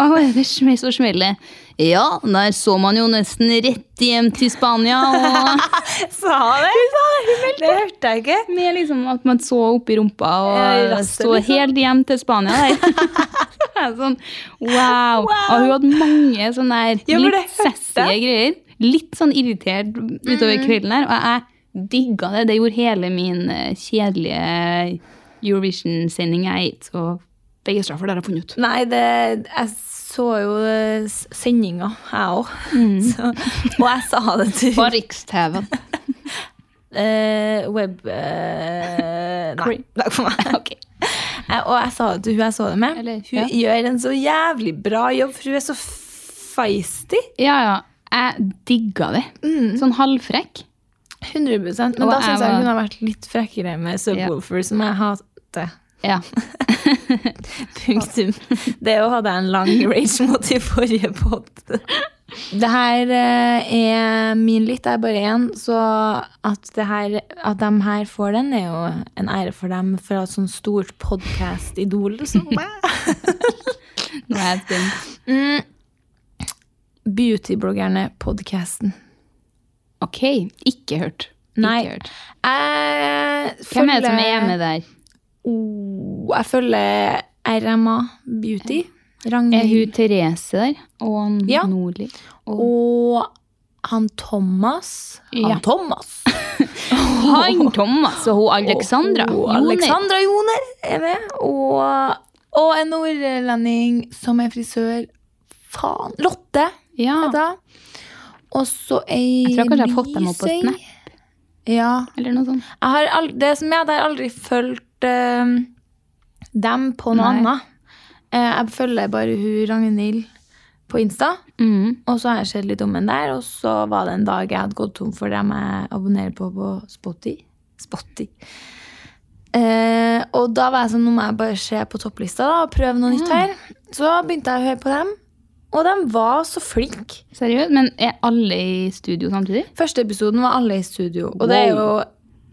A: Åh, det smell så smeller. Ja, der så man jo nesten rett hjem til Spania. Og
B: Sa det? Hun sa det, hun meldte. Det hørte jeg ikke.
A: med liksom at man så oppi rumpa
B: Ja, i
A: og
B: rasset,
A: så
B: liksom.
A: helt hjem til Spania der. Så er jeg sånn, wow.
B: Wow.
A: Og hun hadde mange sånne der
B: Ja, for det
A: litt
B: hørte
A: sassige greier. Litt sånn irritert utover kvelden her, og jeg digga det. Det gjorde hele min eh, kjedelige Eurovision-sending jeg er så begeistra for, det har jeg funnet ut.
B: Nei, det, jeg så jo eh, s- sendinga, jeg òg. Og jeg sa det til
A: På Riks-TV-en.
B: eh, web... eh, nei,
A: Creep.
B: takk for meg.
A: Ok.
B: Eh, Og jeg sa det til hun jeg så det med.
A: Eller-
B: hun
A: ja.
B: gjør en så jævlig bra jobb, for hun er så feisty.
A: Ja, ja. Jeg digga det.
B: Mm.
A: Sånn halvfrekk.
B: 100 Men
A: Og
B: da
A: jeg
B: syns jeg
A: var-
B: hun har vært litt frekkere med Subwoolfer, som jeg har til.
A: Ja.
B: Punktum. Det er jo hadde jeg en lang rage mot i forrige pod. Det her eh, er min litt, det er bare én. Så at, det her, at de her får den, er jo en ære for dem fra et sånt stort podkast-idol som meg.
A: Nå er jeg spent.
B: Mm. Beautybloggerne-podkasten.
A: OK. Ikke hørt.
B: Nei.
A: Ikke hørt.
B: Jeg
A: Hvem er det som er med der?
B: Oh, jeg følger RMA Beauty. Ragnhild.
A: Er hun Therese der? Og
B: Ja.
A: Nordli? Og
B: Og han Thomas. Han
A: Ja.
B: Thomas.
A: han Thomas og hun Alexandra.
B: Og hun
A: Joner.
B: Alexandra Joner er med. Og, og en nordlending som er frisør. Faen. Lotte
A: Ja.
B: heter hun. Og så ei
A: Jeg tror kanskje jeg har fått dem opp på
B: Risøy.
A: Snap.
B: Ja.
A: Eller noe sånt.
B: Jeg har aldri, det som er, at jeg har aldri fulgt eh, dem på noe
A: Nei.
B: annet. Eh, jeg følger bare hun Ragnhild på Insta.
A: Mm.
B: Og så har jeg sett litt om den der, og så var det en dag jeg hadde gått tom for dem jeg abonnerer på på Spotty. Spotty. Eh, og da var jeg sånn, nå må jeg bare se på topplista da, og prøve noe nytt her. Så begynte jeg å høre på dem, og de var så flinke.
A: Seriøst? Men er alle i studio samtidig?
B: Første episoden var alle i studio, og det er jo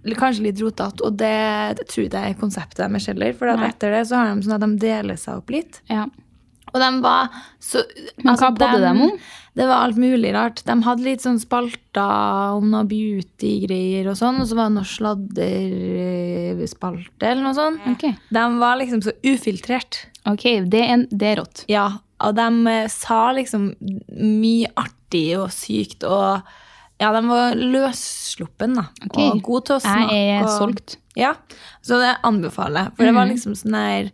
B: l- kanskje litt rotete, og det, det tror jeg det er konseptet deres heller, for at
A: Nei.
B: etter det så har de sånn at de deler seg opp litt.
A: Ja.
B: Og de var så altså,
A: Men hva podde dem om?
B: Det var alt mulig rart. De hadde litt sånn spalter om noe beauty-greier og sånn, og så var det noe sladderspalte eller noe sånt.
A: Ok.
B: De var liksom så ufiltrert.
A: Ok, det er, en- det er rått.
B: Ja, og de eh, sa liksom mye artig og sykt og Ja, de var løssluppen, da.
A: Ok.
B: Og god til å snakke.
A: Jeg er
B: og-
A: solgt.
B: ja, så det anbefaler jeg. For det var liksom sånn der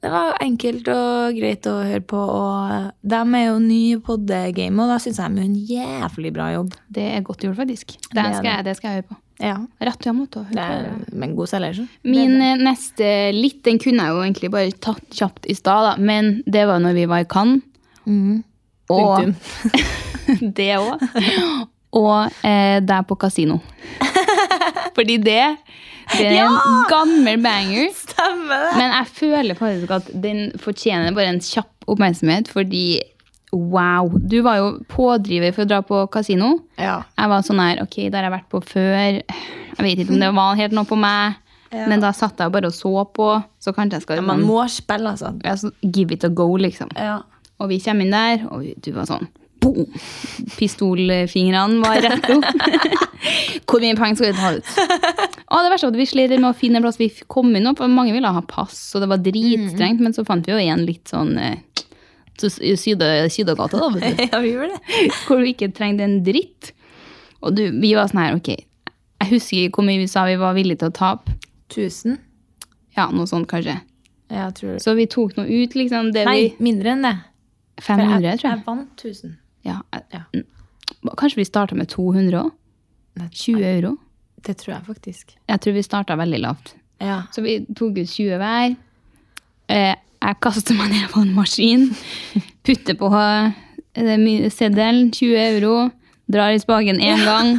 B: Det var enkelt og greit å høre på. Og de er jo nye på det gamet, og da syns jeg de gjør en jævlig bra jobb.
A: Det er godt gjort, faktisk. Det,
B: er
A: skal,
B: det.
A: jeg, det skal jeg høre på.
B: Ja,
A: Rett og slett.
B: det er, Men god selger, så.
A: Min eh, neste litt, den kunne jeg jo egentlig bare tatt kjapt i stad, da. Men det var når vi var i Cannes.
B: Mhm.
A: Og
B: Punktum.
A: det òg. Og eh, der på kasino. Fordi det, det er en gammel banger.
B: Stemmer det!
A: Men jeg føler faktisk at den fortjener bare en kjapp oppmerksomhet, fordi wow. Du var jo pådriver for å dra på kasino.
B: Ja.
A: Jeg var sånn her, ok, der har jeg vært på før. Jeg vet ikke om det var helt noe for meg. Men da satt jeg bare og så på. Så kanskje jeg skal
B: Man må spille, altså.
A: ja, så give it a go, liksom.
B: Ja.
A: Og vi kommer inn der, og vi- du var sånn boom! Pistolfingrene var rett opp. Hvor mye penger skal vi ta ut? Og det verste var at vi slet med å finne en plass vi f- kom inn opp, og mange ville ha pass, og det var dritstrengt, men så fant vi jo en litt sånn eh, til s- i Syde- Sydøgata, da, vet du
B: ja, vi gjorde det.
A: hvor du ikke trengte en dritt. Og du, vi var sånn her, ok, jeg husker ikke hvor mye vi sa vi var villige til å tape.
B: 1000.
A: Ja, noe sånt kanskje.
B: Ja, Jeg tror det.
A: Så vi tok noe ut, liksom. Det
B: Nei, mindre enn det.
A: vi,
B: For
A: 500,
B: jeg,
A: tror jeg.
B: jeg vant 1000.
A: Ja, jeg-
B: Ja.
A: Mm. Kanskje vi startet med 200 også?
B: Nei.
A: 20 euro?
B: Det tror jeg faktisk.
A: Jeg tror vi startet veldig lavt.
B: Ja.
A: Så vi tok ut 20 hver. Eh, Jeg kastet meg ned på en maskin, putter på eh, mi- seddelen, 20 euro, drar i spaken én gang,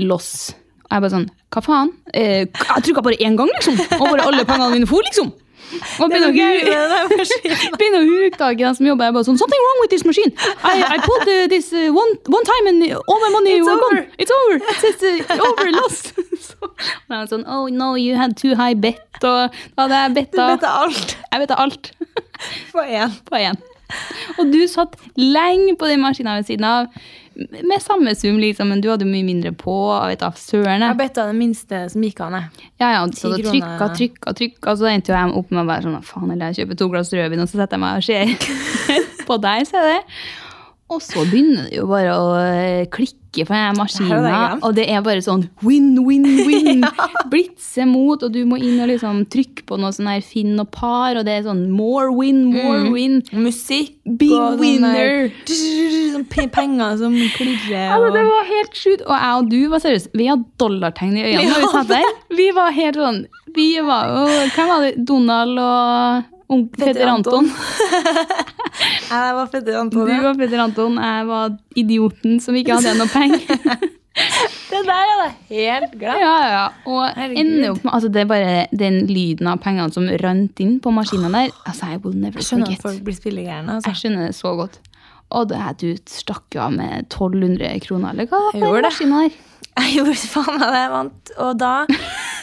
A: loss. Og jeg bare sånn, hva faen? Eh, Jeg trykket bare én gang, liksom. Og bare alle pengene mine for, liksom. Og begynner å hu- begynner å huke tak i den som jobber. Jeg bare sånn, something wrong with this machine. I, I pulled uh, this uh, one, one time and all my money
B: It's
A: were
B: over.
A: gone. It's over. It's just, uh, over, lost. Så, og jeg var sånn, oh no, you had too high bet. Og da hadde jeg betta.
B: alt
A: Jeg betta alt
B: på én.
A: på én. Og du satt lenge på den maskina ved siden av. Med samme sum, liksom, men du hadde mye mindre på. Og vet da, søren.
B: Jeg
A: jeg.
B: betta det minste som gikk an, jeg.
A: Ja, ja, så
B: Ti
A: det
B: kroner.
A: trykka, trykka, trykka, så endte jo jeg opp med å være sånn Faen, eller jeg kjøper to glass rødvin, og så setter jeg meg og ser på deg, ser jeg det. Og så begynner det jo bare å eh, klikke for den
B: Det her hadde jeg
A: maskina,
B: glemt.
A: og det er bare sånn win, win, win. Blitse mot, og du må inn og liksom trykke på noe sånn her finn og par, og det er sånn more win, more
B: Mm.
A: win.
B: Musikk
A: Big
B: og sånn
A: winner.
B: der- Sånn pe- penger som klirrer
A: Altså, det
B: og
A: var helt sjukt. Og jeg og du var seriøst. Vi hadde dollartegn i øynene når vi satt der. Vi var helt sånn Vi var jo Hvem var det? Donald og onk-
B: Petter
A: Petter Anton.
B: Ja, det var fett, Anton.
A: Du
B: ja.
A: var Petter Anton, jeg var idioten som ikke hadde noe penger.
B: Det der hadde jeg helt glemt.
A: Ja, ja. Og
B: Herregud.
A: ender jo opp med altså Det er bare den lyden av pengene som rant inn på maskinen der. Altså, I will never
B: Jeg skjønner at
A: forget.
B: folk blir spillegærne.
A: Jeg
B: Altså.
A: skjønner det så godt. Og det her, du stakk jo av med 1200 kroner, eller hva?
B: Jeg gjorde det.
A: maskinen her?
B: Jeg gjorde faen meg det jeg vant, og da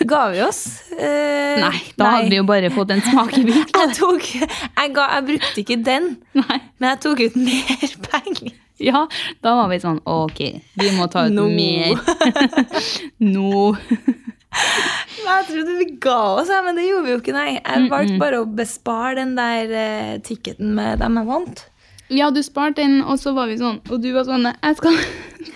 B: ga vi oss. Eh,
A: Nei, da hadde vi jo bare fått en smakebit.
B: jeg, tok, jeg, ga, jeg brukte ikke den,
A: Nei.
B: men jeg tok ut mer penger.
A: Ja, da var vi sånn Ok, vi må ta ut
B: Nå.
A: mer. Nå.
B: Nei, Jeg trodde vi ga oss, ja, men det gjorde vi jo ikke. Nei. Jeg valgte bare å bespare den der eh, ticketen med dem jeg vant.
A: Ja, du sparte den, og så var vi sånn, og du var sånn Jeg skal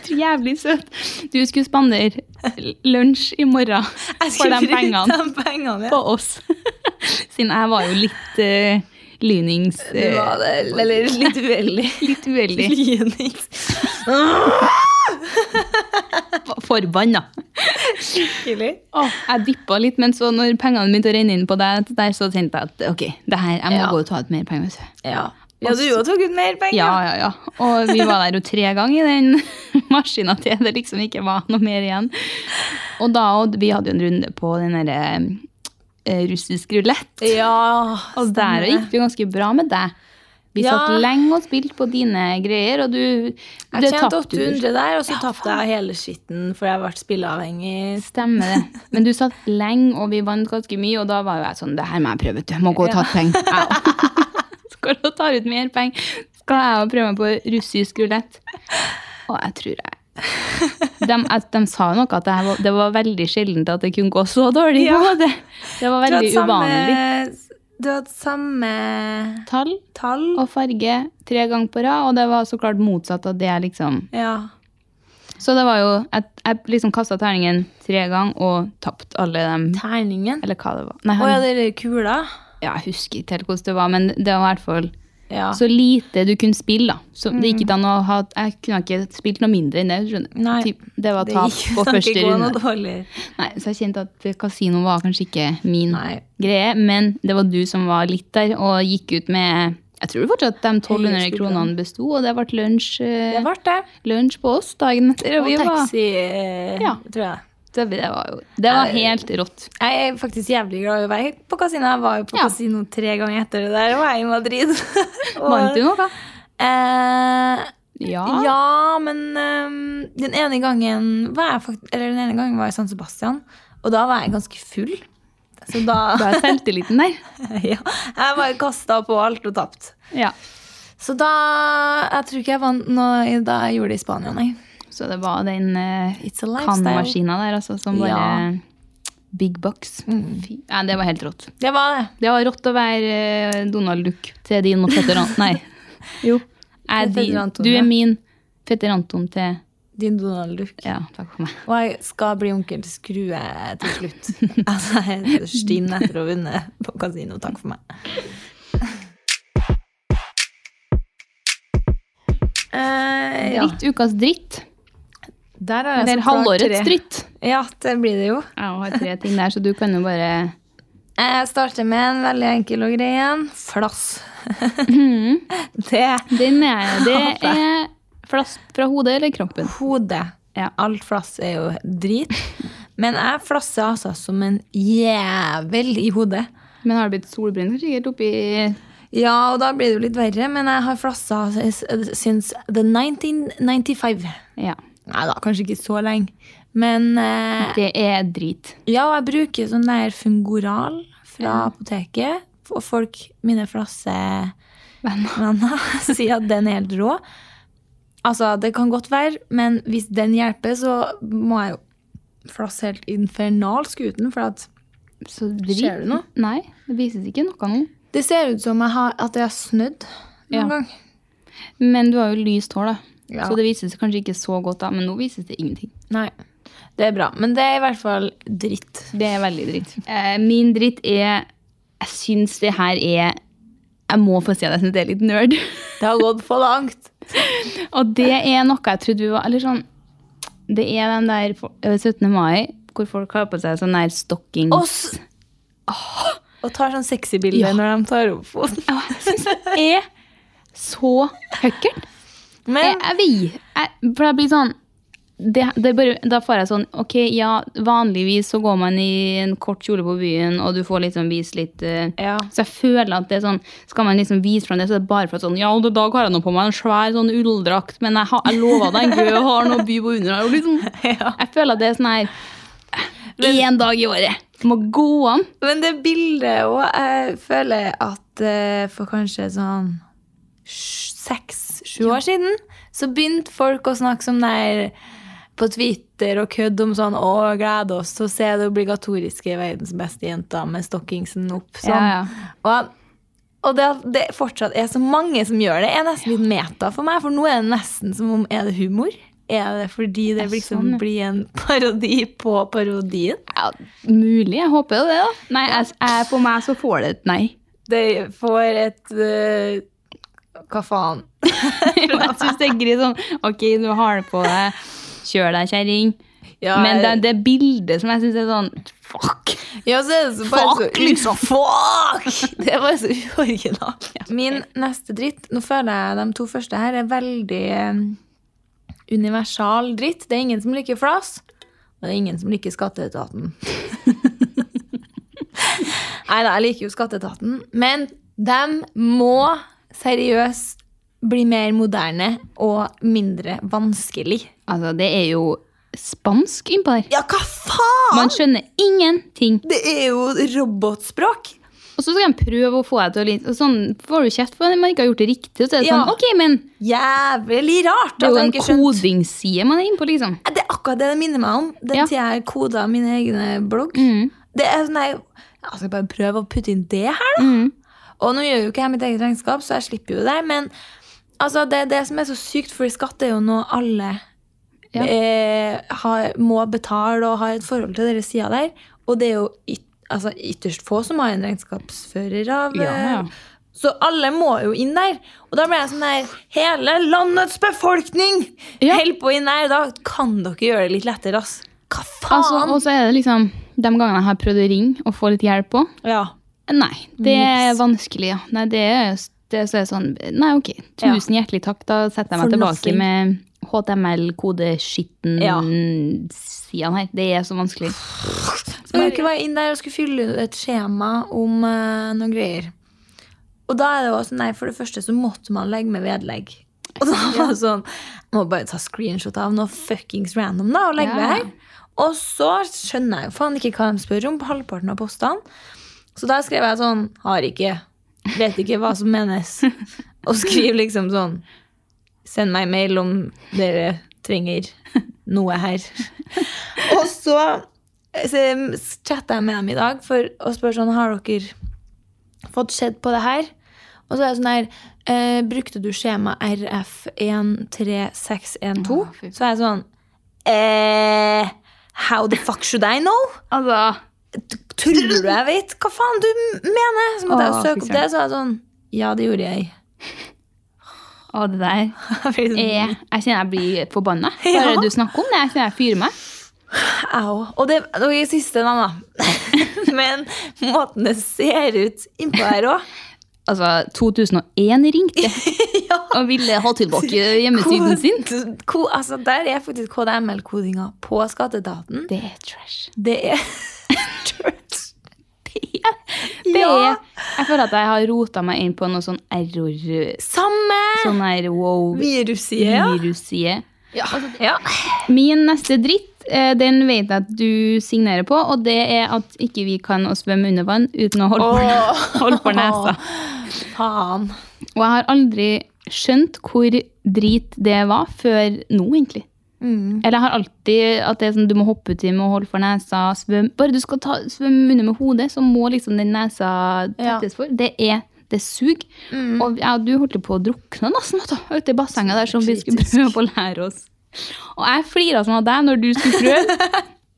A: Du er Jævlig søt. Du skulle spandere l- lunsj i morgen
B: Jeg
A: for
B: skulle
A: de
B: bruke
A: pengene
B: de pengene,
A: på
B: ja.
A: oss. Siden jeg var jo litt eh, lynings...
B: Det
A: eh,
B: var det, eller litt uheldig.
A: litt uheldig.
B: Lynings.
A: F- Forbanna.
B: Skikkelig.
A: Jeg dippa litt, men så når pengene begynte å renne inn på deg, der, så tenkte jeg at ok, det her, jeg må
B: Ja.
A: gå og ta ut mer penger. vet du.
B: Ja. ja, du jo tok ut mer penger.
A: Ja, ja, ja. Og vi var der jo tre ganger i den maskina til det liksom ikke var noe mer igjen. Og da og vi hadde jo en runde på den derre eh, russisk rulett,
B: Ja,
A: og der
B: stemmer det.
A: gikk det jo ganske bra med deg. Vi
B: Ja.
A: satt lenge og spilte på dine greier, og du
B: Jeg
A: det
B: tjente
A: tapte du.
B: 800 der, og så tapte jeg hele skitten fordi jeg ble spilleavhengig.
A: Stemmer det. Men du satt lenge, og vi vant ganske mye, og da var jo jeg sånn Det her må jeg prøve, vet du. Jeg må gå og ta ut penger. Jeg også. Skal du ta ut mer penger, skal jeg òg prøve meg på russisk rulett. Og jeg tror jeg de, at de sa nok at det, her var, det var veldig sjeldent at det kunne gå så dårlig. på en
B: Ja.
A: måte. Det var
B: Du
A: veldig
B: hadde
A: uvanlig.
B: Du hadde samme
A: Tall
B: tall.
A: og farge tre ganger på rad, og det var så klart motsatt av det jeg liksom
B: Ja.
A: Så det var jo at jeg liksom kasta terningen tre ganger og tapte alle dem.
B: Terningen.
A: Eller hva det var. Nei,
B: Å ja, det er kula.
A: ja, jeg husker ikke helt hvordan det var, men det var i hvert fall
B: Ja.
A: så lite du kunne spille. da. Så det gikk ikke an å ha, Jeg kunne ikke spilt noe mindre enn det. skjønner du?
B: Mm. Nei,
A: Typ, det var
B: det
A: tap
B: gikk-
A: på
B: kan ikke
A: første
B: gå noe
A: runde.
B: dårligere.
A: Nei, så jeg kjente at kasino var kanskje ikke min
B: Nei.
A: greie, men det var du som var litt der og gikk ut med Jeg tror fortsatt de 1200
B: Høye skuldrene.
A: kronene besto, og det ble lunsj, eh,
B: Det ble det.
A: lunsj på oss dagen etter. Og
B: Og
A: vi var,
B: taxi, eh,
A: Ja.
B: tror jeg.
A: det, det var jo Det var helt rått.
B: Jeg er faktisk jævlig glad i å være på kasino. Jeg var jo på
A: Ja.
B: kasino tre ganger etter det der, og jeg er i Madrid. Og-
A: Vant du noe?
B: Eh,
A: Ja.
B: Ja, men ehm, den ene gangen var jeg fakt Eller den ene gangen var jeg i San Sebastian, og da var jeg ganske full. Så da
A: Bare selvtilliten der.
B: ja, Jeg var kasta på alt og tapt.
A: Ja.
B: Så da Jeg tror ikke jeg vant noe i- da jeg gjorde det i Spania, nei.
A: Så det var den eh,
B: It's a lifestyle.
A: kannmaskina der, altså, som bare
B: Ja. Mm.
A: Big bucks. Fy. Nei, det var helt rått.
B: Det var det.
A: Det var rått å være eh, Donald Duck til din og fetter Anton. Nei. Jo. Er
B: Til fetter
A: din,
B: Anton,
A: du
B: ja.
A: er min fetter Anton til
B: Din Donald Duck.
A: Ja, takk for meg.
B: Og jeg skal bli onkel til Skrue til slutt. altså, jeg er stinn etter å ha vunnet på kasino. Takk for meg. Eh, ja.
A: Dritt ukas dritt.
B: Der har
A: Eller halvårets dritt.
B: Ja, det blir det jo.
A: Jeg har tre ting der, så du kan jo bare
B: Jeg starter med en veldig enkel og grei en. Flass. Mhm. det
A: Den er Det er flass fra hodet eller kroppen.
B: hodet.
A: Ja.
B: Alt flass er jo drit. Men jeg flasser altså som en jævel i hodet.
A: Men har det blitt solbrent sikkert oppi
B: Ja, og da blir det jo litt verre, men jeg har flassa s- since the 1995.
A: Ja.
B: Nei da, kanskje ikke så lenge. Men eh,
A: Det er drit.
B: ja, og jeg bruker sånn der Fungoral fra apoteket. Og folk, mine flassevenner,
A: Venner.
B: sier at den er helt rå. Altså, det kan godt være, men hvis den hjelper, så må jeg jo flasse helt infernalsk uten, for at
A: Så drit.
B: Ser du noe?
A: Nei, det vises ikke noe nå.
B: det ser ut som jeg har, at jeg har snødd noen
A: Ja.
B: gang.
A: Men du har jo lyst hår, da.
B: Ja.
A: Så det vises kanskje ikke så godt da, men nå vises det ingenting.
B: Nei. Det er bra. Men det er i hvert fall dritt.
A: Det er veldig dritt. Eh, min dritt er Jeg syns det her er Jeg må få si at jeg syns det er litt nerd.
B: Det har gått for langt.
A: Og det er noe jeg trodde vi var Eller sånn Det er den der for- eh, 17. mai hvor folk har på seg sånn der stockings.
B: Og, s- og tar sånn sexy bilder
A: Ja.
B: når de tar opp foten.
A: Ja, Jeg syns det er så høkkert. Jeg,
B: Men
A: jeg, vil- jeg, for jeg blir sånn det, det er bare, da får jeg sånn Ok, ja, vanligvis så går man i en kort kjole på byen, og du får liksom vise litt eh,
B: Ja.
A: Så jeg føler at det er sånn Skal man liksom vise fram det, så er det bare for at sånn Ja, og i dag har jeg nå på meg en svær sånn ulldrakt, men jeg, har- jeg lover deg en gøy og har noe å by på under her. og Liksom, jeg føler at det er sånn her eh, Én dag i året. Må gå an.
B: Men det bildet òg Jeg føler at eh, for kanskje sånn seks-sju år siden så begynte folk å snakke som der på Twitter og kødde om sånn Å, glede oss til å se det obligatoriske verdens beste jenta med stockingsen opp. Sånn.
A: Ja, ja.
B: Og, og det at det fortsatt er så mange som gjør det, er nesten litt meta for meg. For nå er det nesten som om Er det humor? Er det fordi det liksom
A: sånn, ja.
B: blir en parodi på parodien?
A: Ja, mulig. Jeg håper jo det, da. Nei, jeg, jeg, på meg så får det et nei.
B: De får et eh, Hva faen?
A: jeg syns det er greit sånn Ok, du har det på deg. Kjør deg, kjerring.
B: Ja,
A: Men det, det bildet som jeg syns er sånn Fuck!
B: ja, så er det så sånn. bare
A: Fuck,
B: så,
A: liksom.
B: Fuck! Det var så uoriginalt. Min neste dritt Nå føler jeg de to første her er veldig eh, universal dritt. Det er ingen som liker flas, og det er ingen som liker Skatteetaten. Nei da, jeg liker jo Skatteetaten, men de må seriøst bli mer moderne og mindre vanskelig.
A: Altså, det er jo spansk innpå der.
B: Ja, hva faen?!
A: Man skjønner ingenting.
B: Det er jo robotspråk.
A: Og så skal de prøve å få deg til å litt Og sånn får du kjeft for at man ikke har gjort det riktig. Og så er det
B: Ja.
A: sånn, ok, men
B: Jævlig rart.
A: det er
B: at
A: jo
B: jeg
A: en
B: ikke skjønte-
A: kodingsside man er inne på, liksom.
B: Det er akkurat det det minner meg om. Den
A: Ja.
B: tida jeg koda mine egne blogg.
A: Mm.
B: Det er sånn jeg, jeg skal bare prøve å putte inn det her, da.
A: Mm.
B: Og nå gjør jo ikke jeg mitt eget regnskap, så jeg slipper jo det. Men altså, det er det som er så sykt, for skatt er jo noe alle
A: Ja.
B: eh, har, må betale og har et forhold til dere sida der. Og det er jo yt, altså, ytterst få som har en regnskapsfører av
A: Ja,
B: eh,
A: ja.
B: Så alle må jo inn der. Og da blir jeg sånn der Hele landets befolkning
A: Ja.
B: holder på inn der! Da kan dere gjøre det litt lettere, ass. Hva faen?
A: Altså, og så er det liksom de gangene jeg har prøvd å ringe og få litt hjelp òg.
B: ja.
A: Nei, det er vanskelig, ja. Nei, det er, det, så er det sånn Nei, ok. Tusen hjertelig takk. Da setter jeg meg
B: For
A: tilbake
B: nothing.
A: med HTML-kodeskitten
B: Ja.
A: siden her. Det er så vanskelig.
B: Så må ikke være inn der og skulle fylle ut et skjema om eh, noen greier. Og da er det jo også, nei, for det første så måtte man legge med vedlegg. Og da var det sånn, jeg må bare ta screenshot av noe fuckings random da, og legge
A: Ja.
B: ved her. Og så skjønner jeg jo faen ikke hva de spør om på halvparten av postene. Så da skrev jeg sånn, har ikke, vet ikke hva som menes. Og skriv liksom sånn, send meg mail om dere trenger noe her. Og så så chatta jeg med dem i dag for å spørre sånn, har dere fått sett på det her? Og så er det sånn her, eh, brukte du skjema RF13612?
A: Å, fy faen.
B: så er jeg sånn, eh, how the fuck should I know?
A: Altså
B: Tror du jeg vet hva faen du mener? Så måtte jeg
A: Å,
B: søke
A: fy
B: opp det, så er jeg sånn, ja, det gjorde jeg.
A: Å, det der
B: Jeg blir sånn,
A: er Jeg kjenner jeg blir forbanna. Bare
B: Ja.
A: du snakker om det, jeg kjenner jeg fyrer meg.
B: Au. Og det det var ikke siste navn, da. Men måten det ser ut innpå her òg
A: Altså, 2001 ringte og ville ha tilbake hjemmesiden sin.
B: altså, Der er faktisk KDML-kodinga på skatteetaten.
A: Det er trash.
B: Det er
A: Det
B: Ja.
A: er, jeg føler at jeg har rota meg inn på noe sånn error...
B: Samme
A: Sånn her wow
B: virusside, ja.
A: virusside.
B: Ja. ja.
A: Min neste dritt, eh, den vet jeg at du signerer på, og det er at ikke vi kan å svømme under vann uten å holde,
B: Åh.
A: for, holde for nesa.
B: Faen.
A: Og jeg har aldri skjønt hvor drit det var før nå, egentlig.
B: Mm.
A: Eller jeg har alltid at det er sånn, du må hoppe uti med å holde for nesa, svøm. Bare du skal ta, svømme under med hodet, så må liksom den nesa
B: Ja.
A: tettes for. Det er det suger. Og ja, du holdt jo på å drukne nesten vet du, ute i bassenget der som vi skulle
B: Kritisk.
A: prøve å lære oss. Og jeg flira sånn av deg når du skulle prøve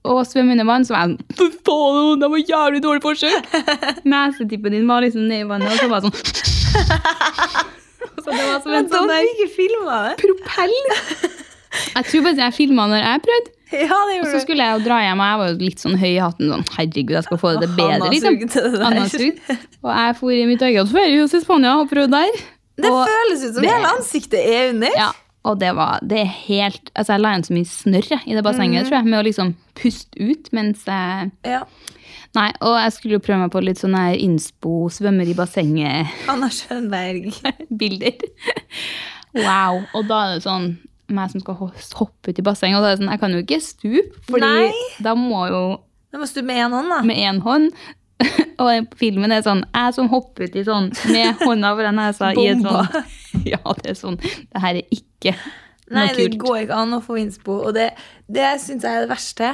A: å svømme under vann. Så var jeg sånn Fy faen, det var jævlig dårlig forsøk! Nesetippen din var liksom nedi vannet, og så var det sånn Så det var som en sånn der
B: ikke filma det.
A: propell. Jeg tror bare jeg filma når jeg prøvde.
B: Ja, det
A: Og så
B: gjorde du.
A: skulle jeg jo dra hjem, og jeg var jo litt sånn høy i hatten. sånn, Herregud, jeg skal få det til bedre.
B: Anna sugde det
A: liksom.
B: der.
A: Anna sugde. Og jeg for i mitt eget ferie hos Spania og prøvde der.
B: Det
A: og
B: føles ut som
A: det-
B: hele ansiktet er under.
A: ja, Og det var det er helt Altså, jeg la igjen så mye snørr jeg, i det
B: Mm.
A: bassenget, tror jeg, med å liksom puste ut mens jeg
B: Ja.
A: Nei, og jeg skulle jo prøve meg på litt sånn her innspo, svømmer i bassenget-bilder.
B: Anna Schönberg.
A: Wow. Og da er det sånn meg som skal ho- hoppe ut i bassenget, og da er det sånn, jeg kan jo ikke stupe, fordi
B: Nei.
A: da må jo
B: Da må du med én hånd, da.
A: med én hånd Og filmen er sånn Jeg som hopper uti sånn med hånda foran nesa i et
B: Bomba.
A: sånn Ja, det er sånn Det her er ikke
B: Nei,
A: noe
B: det
A: kult.
B: går ikke an å få innspo, og det, det syns jeg er det verste.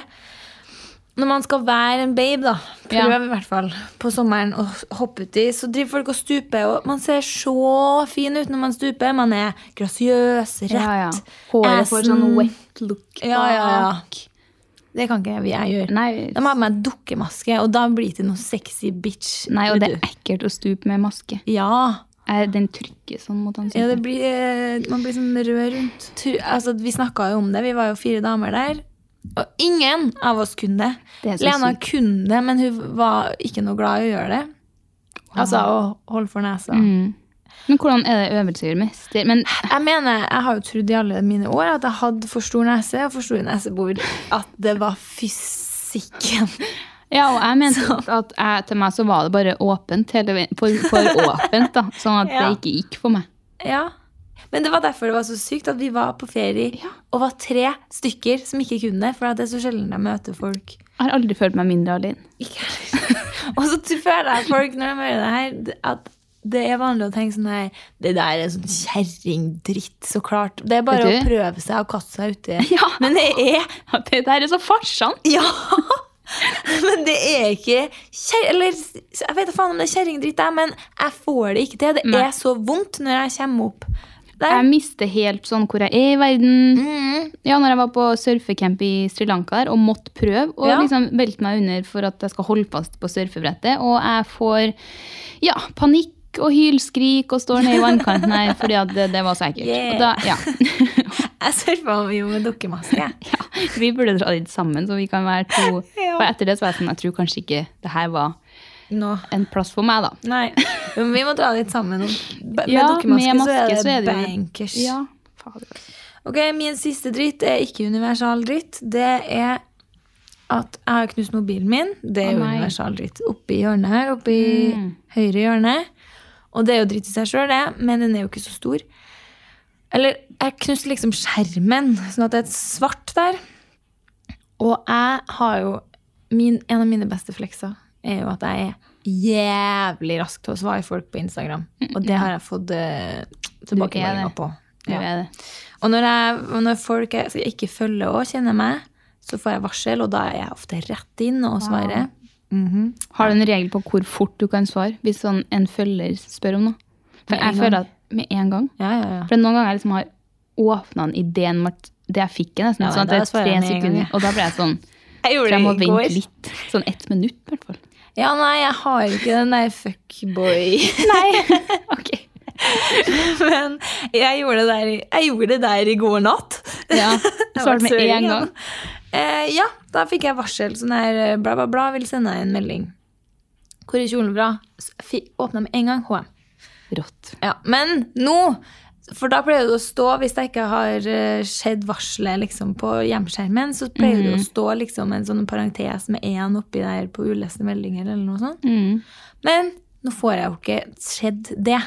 B: Når man skal være en babe, da, prøv
A: Ja.
B: i hvert fall, på sommeren å hoppe uti, så driver folk og stuper, og man ser så fin ut når man stuper. Man er grasiøs, rett.
A: Ja, ja. Håret får sånn
B: assen.
A: wet look
B: Ja, ja, ja.
A: bak.
B: Det kan ikke jeg- jeg gjøre.
A: Nei,
B: Da må jeg ha på meg dukkemaske, og da blir det noe sexy bitch.
A: nei, og det
B: vet
A: er
B: du.
A: ekkelt å stupe med maske.
B: Ja.
A: Eh, Den trykker sånn mot
B: Ja, det
A: ansiktet.
B: blir, eh, man blir sånn rød rundt. Tu- Altså, vi snakka jo om det, vi var jo fire damer der. Og ingen av oss kunne det.
A: Det er så
B: Lena
A: sykt.
B: kunne det, men hun var ikke noe glad i å gjøre det. Altså å holde for nesa.
A: Mm. Men hvordan er det øvelser gjør mest? Det- Men
B: Jeg mener, jeg har jo trodd i alle mine år at jeg hadde for stor nese og for stor nesebor. At det var fysikken.
A: Ja, og jeg mente at jeg, til meg så var det bare åpent hele veien. For, for åpent, da. Sånn at
B: Ja.
A: det ikke gikk for meg.
B: Ja. Men det var derfor det var så sykt at vi var på ferie og var tre stykker som ikke kunne det. For at det er så sjelden jeg møter folk.
A: Jeg har aldri følt meg mindre alene.
B: Ikke heller. Og så t- føler jeg folk når de hører det her, d- at det er vanlig å tenke sånn her Det der er sånn kjerringdritt, så klart. Det er bare å
A: Vet du?
B: prøve seg og kaste seg uti.
A: Ja.
B: Men det er
A: At Det der er så farsant!
B: Ja! Men det er ikke kjer... Eller s- jeg vet da faen om det er kjerringdritt, jeg, men jeg får det ikke til. Det
A: Nei.
B: er så vondt når jeg kommer opp
A: Jeg
B: der.
A: mister helt sånn hvor jeg er i verden.
B: Mm.
A: Ja, når jeg var på surfecamp i Sri Lanka der, og måtte prøve og
B: Ja.
A: liksom velte meg under for at jeg skal holde fast på surfebrettet, og jeg får ja, panikk og hylskrik og står nede i vannkanten her fordi at det, det var så ekkelt.
B: Yeah.
A: Og da, ja.
B: Jeg surfa jo med dukkemaske.
A: Ja, vi burde dra dit sammen, så vi kan være to.
B: Ja.
A: For etter det så var jeg sånn, jeg tror kanskje ikke det her var
B: Nå.
A: en plass for meg, da.
B: Nei. Men vi må dra dit sammen. Med
A: Ja,
B: dukkemaske
A: med
B: så er
A: maske
B: det
A: så er det jo-
B: bankers.
A: Ja, fader.
B: Ok, Min siste dritt er ikke universal dritt. Det er at jeg har knust mobilen min. Det er
A: Å,
B: jo
A: nei. Mm.
B: universal dritt. Oppi hjørnet her. Oppi høyre hjørne. Og det er jo dritt i seg sjøl, det, men den er jo ikke så stor. Eller jeg knuste liksom skjermen, sånn at det er et svart der. Og jeg har jo min, En av mine beste flekser er jo at jeg er jævlig rask til å svare folk på Instagram. Og det har jeg fått eh, tilbakemeldinger
A: det.
B: på.
A: Det er det.
B: Og når, jeg, og når folk jeg, som ikke følger og kjenner meg, så får jeg varsel, og da er jeg ofte rett inn og svarer.
A: Har du en regel på hvor fort du kan svare hvis sånn en følger spør om noe? For
B: Med en
A: jeg
B: gang.
A: føler at med en gang.
B: Ja, ja, ja.
A: For noen ganger jeg liksom har åpna en idé enn at det jeg fikk, er nesten
B: Ja, nei,
A: sånn at det
B: da svarer
A: er tre
B: jeg med en gang,
A: sekunder.
B: jeg.
A: Og da ble jeg sånn
B: Jeg
A: For
B: gjorde
A: jeg må
B: det i
A: vente
B: går.
A: litt. Sånn ett minutt, i hvert fall.
B: Ja, nei, jeg har ikke den der fuckboy.
A: Nei. ok.
B: Men jeg gjorde, det der, i- jeg gjorde det der i går natt.
A: Ja,
B: Jeg
A: svarte
B: var
A: med
B: søring,
A: en
B: ja.
A: gang.
B: Eh, ja, da fikk jeg varsel. Sånn her eh, bla, bla, bla, vil sende deg en melding. Hvor er kjolen fra? S- fi- Åpna med en gang. HM.
A: Rått.
B: Ja, men nå For da pleier det å stå, hvis det ikke har eh, skjedd varselet liksom, på hjemskjermen, så pleier det å stå liksom, en sånn parentes med én oppi der på uleste meldinger eller noe sånt.
A: Mm.
B: Men nå får jeg jo ikke skjedd det.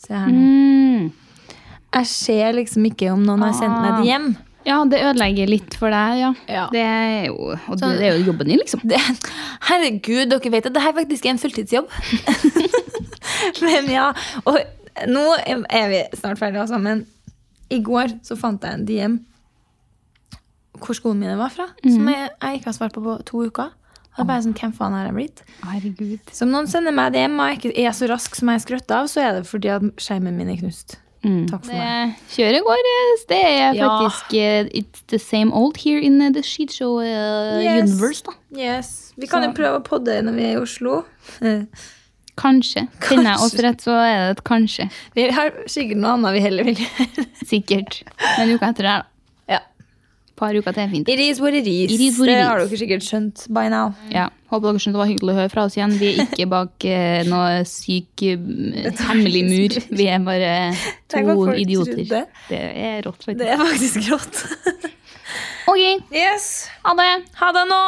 B: Se her nå.
A: Mm.
B: Jeg ser liksom ikke om noen har sendt meg et hjem.
A: Ja, det ødelegger litt for deg, ja.
B: Ja.
A: Det er jo, og det, det er jo jobben din, liksom.
B: Det, herregud, dere vet at det her faktisk er en fulltidsjobb. men ja, og nå er vi snart ferdige også, men i går så fant jeg en DM hvor skoene mine var fra, som jeg, jeg ikke har svart på på to uker. Og det er bare sånn, hvem faen har jeg blitt?
A: Herregud.
B: Så om noen sender meg DM og jeg ikke er så rask som jeg er skrøtt av, så er det fordi at skjermen min er knust. Takk for
A: Det
B: meg.
A: kjøret går eh, Det er
B: Ja.
A: faktisk eh, It's the same old here in eh, the sheet show eh,
B: Yes.
A: universe, da.
B: Yes. Vi kan jo prøve å podde når vi er i Oslo.
A: Kanskje. Finner jeg oss rett, så er det et kanskje.
B: Vi har sikkert noe annet vi heller vil gjøre.
A: Sikkert. Men uka etter det, her, da.
B: Ja.
A: par uker til er fint.
B: It is what it is.
A: It is what it
B: Det har
A: is.
B: dere sikkert skjønt by now.
A: Ja, Håper dere skjønte det var hyggelig å høre fra oss igjen. Vi er ikke bak eh, noe syk eh, hemmelig mur. Vi er bare
B: Tenk hva
A: to
B: folk
A: idioter.
B: trodde.
A: Det er rått,
B: Det
A: faktisk.
B: er faktisk rått.
A: OK,
B: yes.
A: ha det!
B: Ha det nå!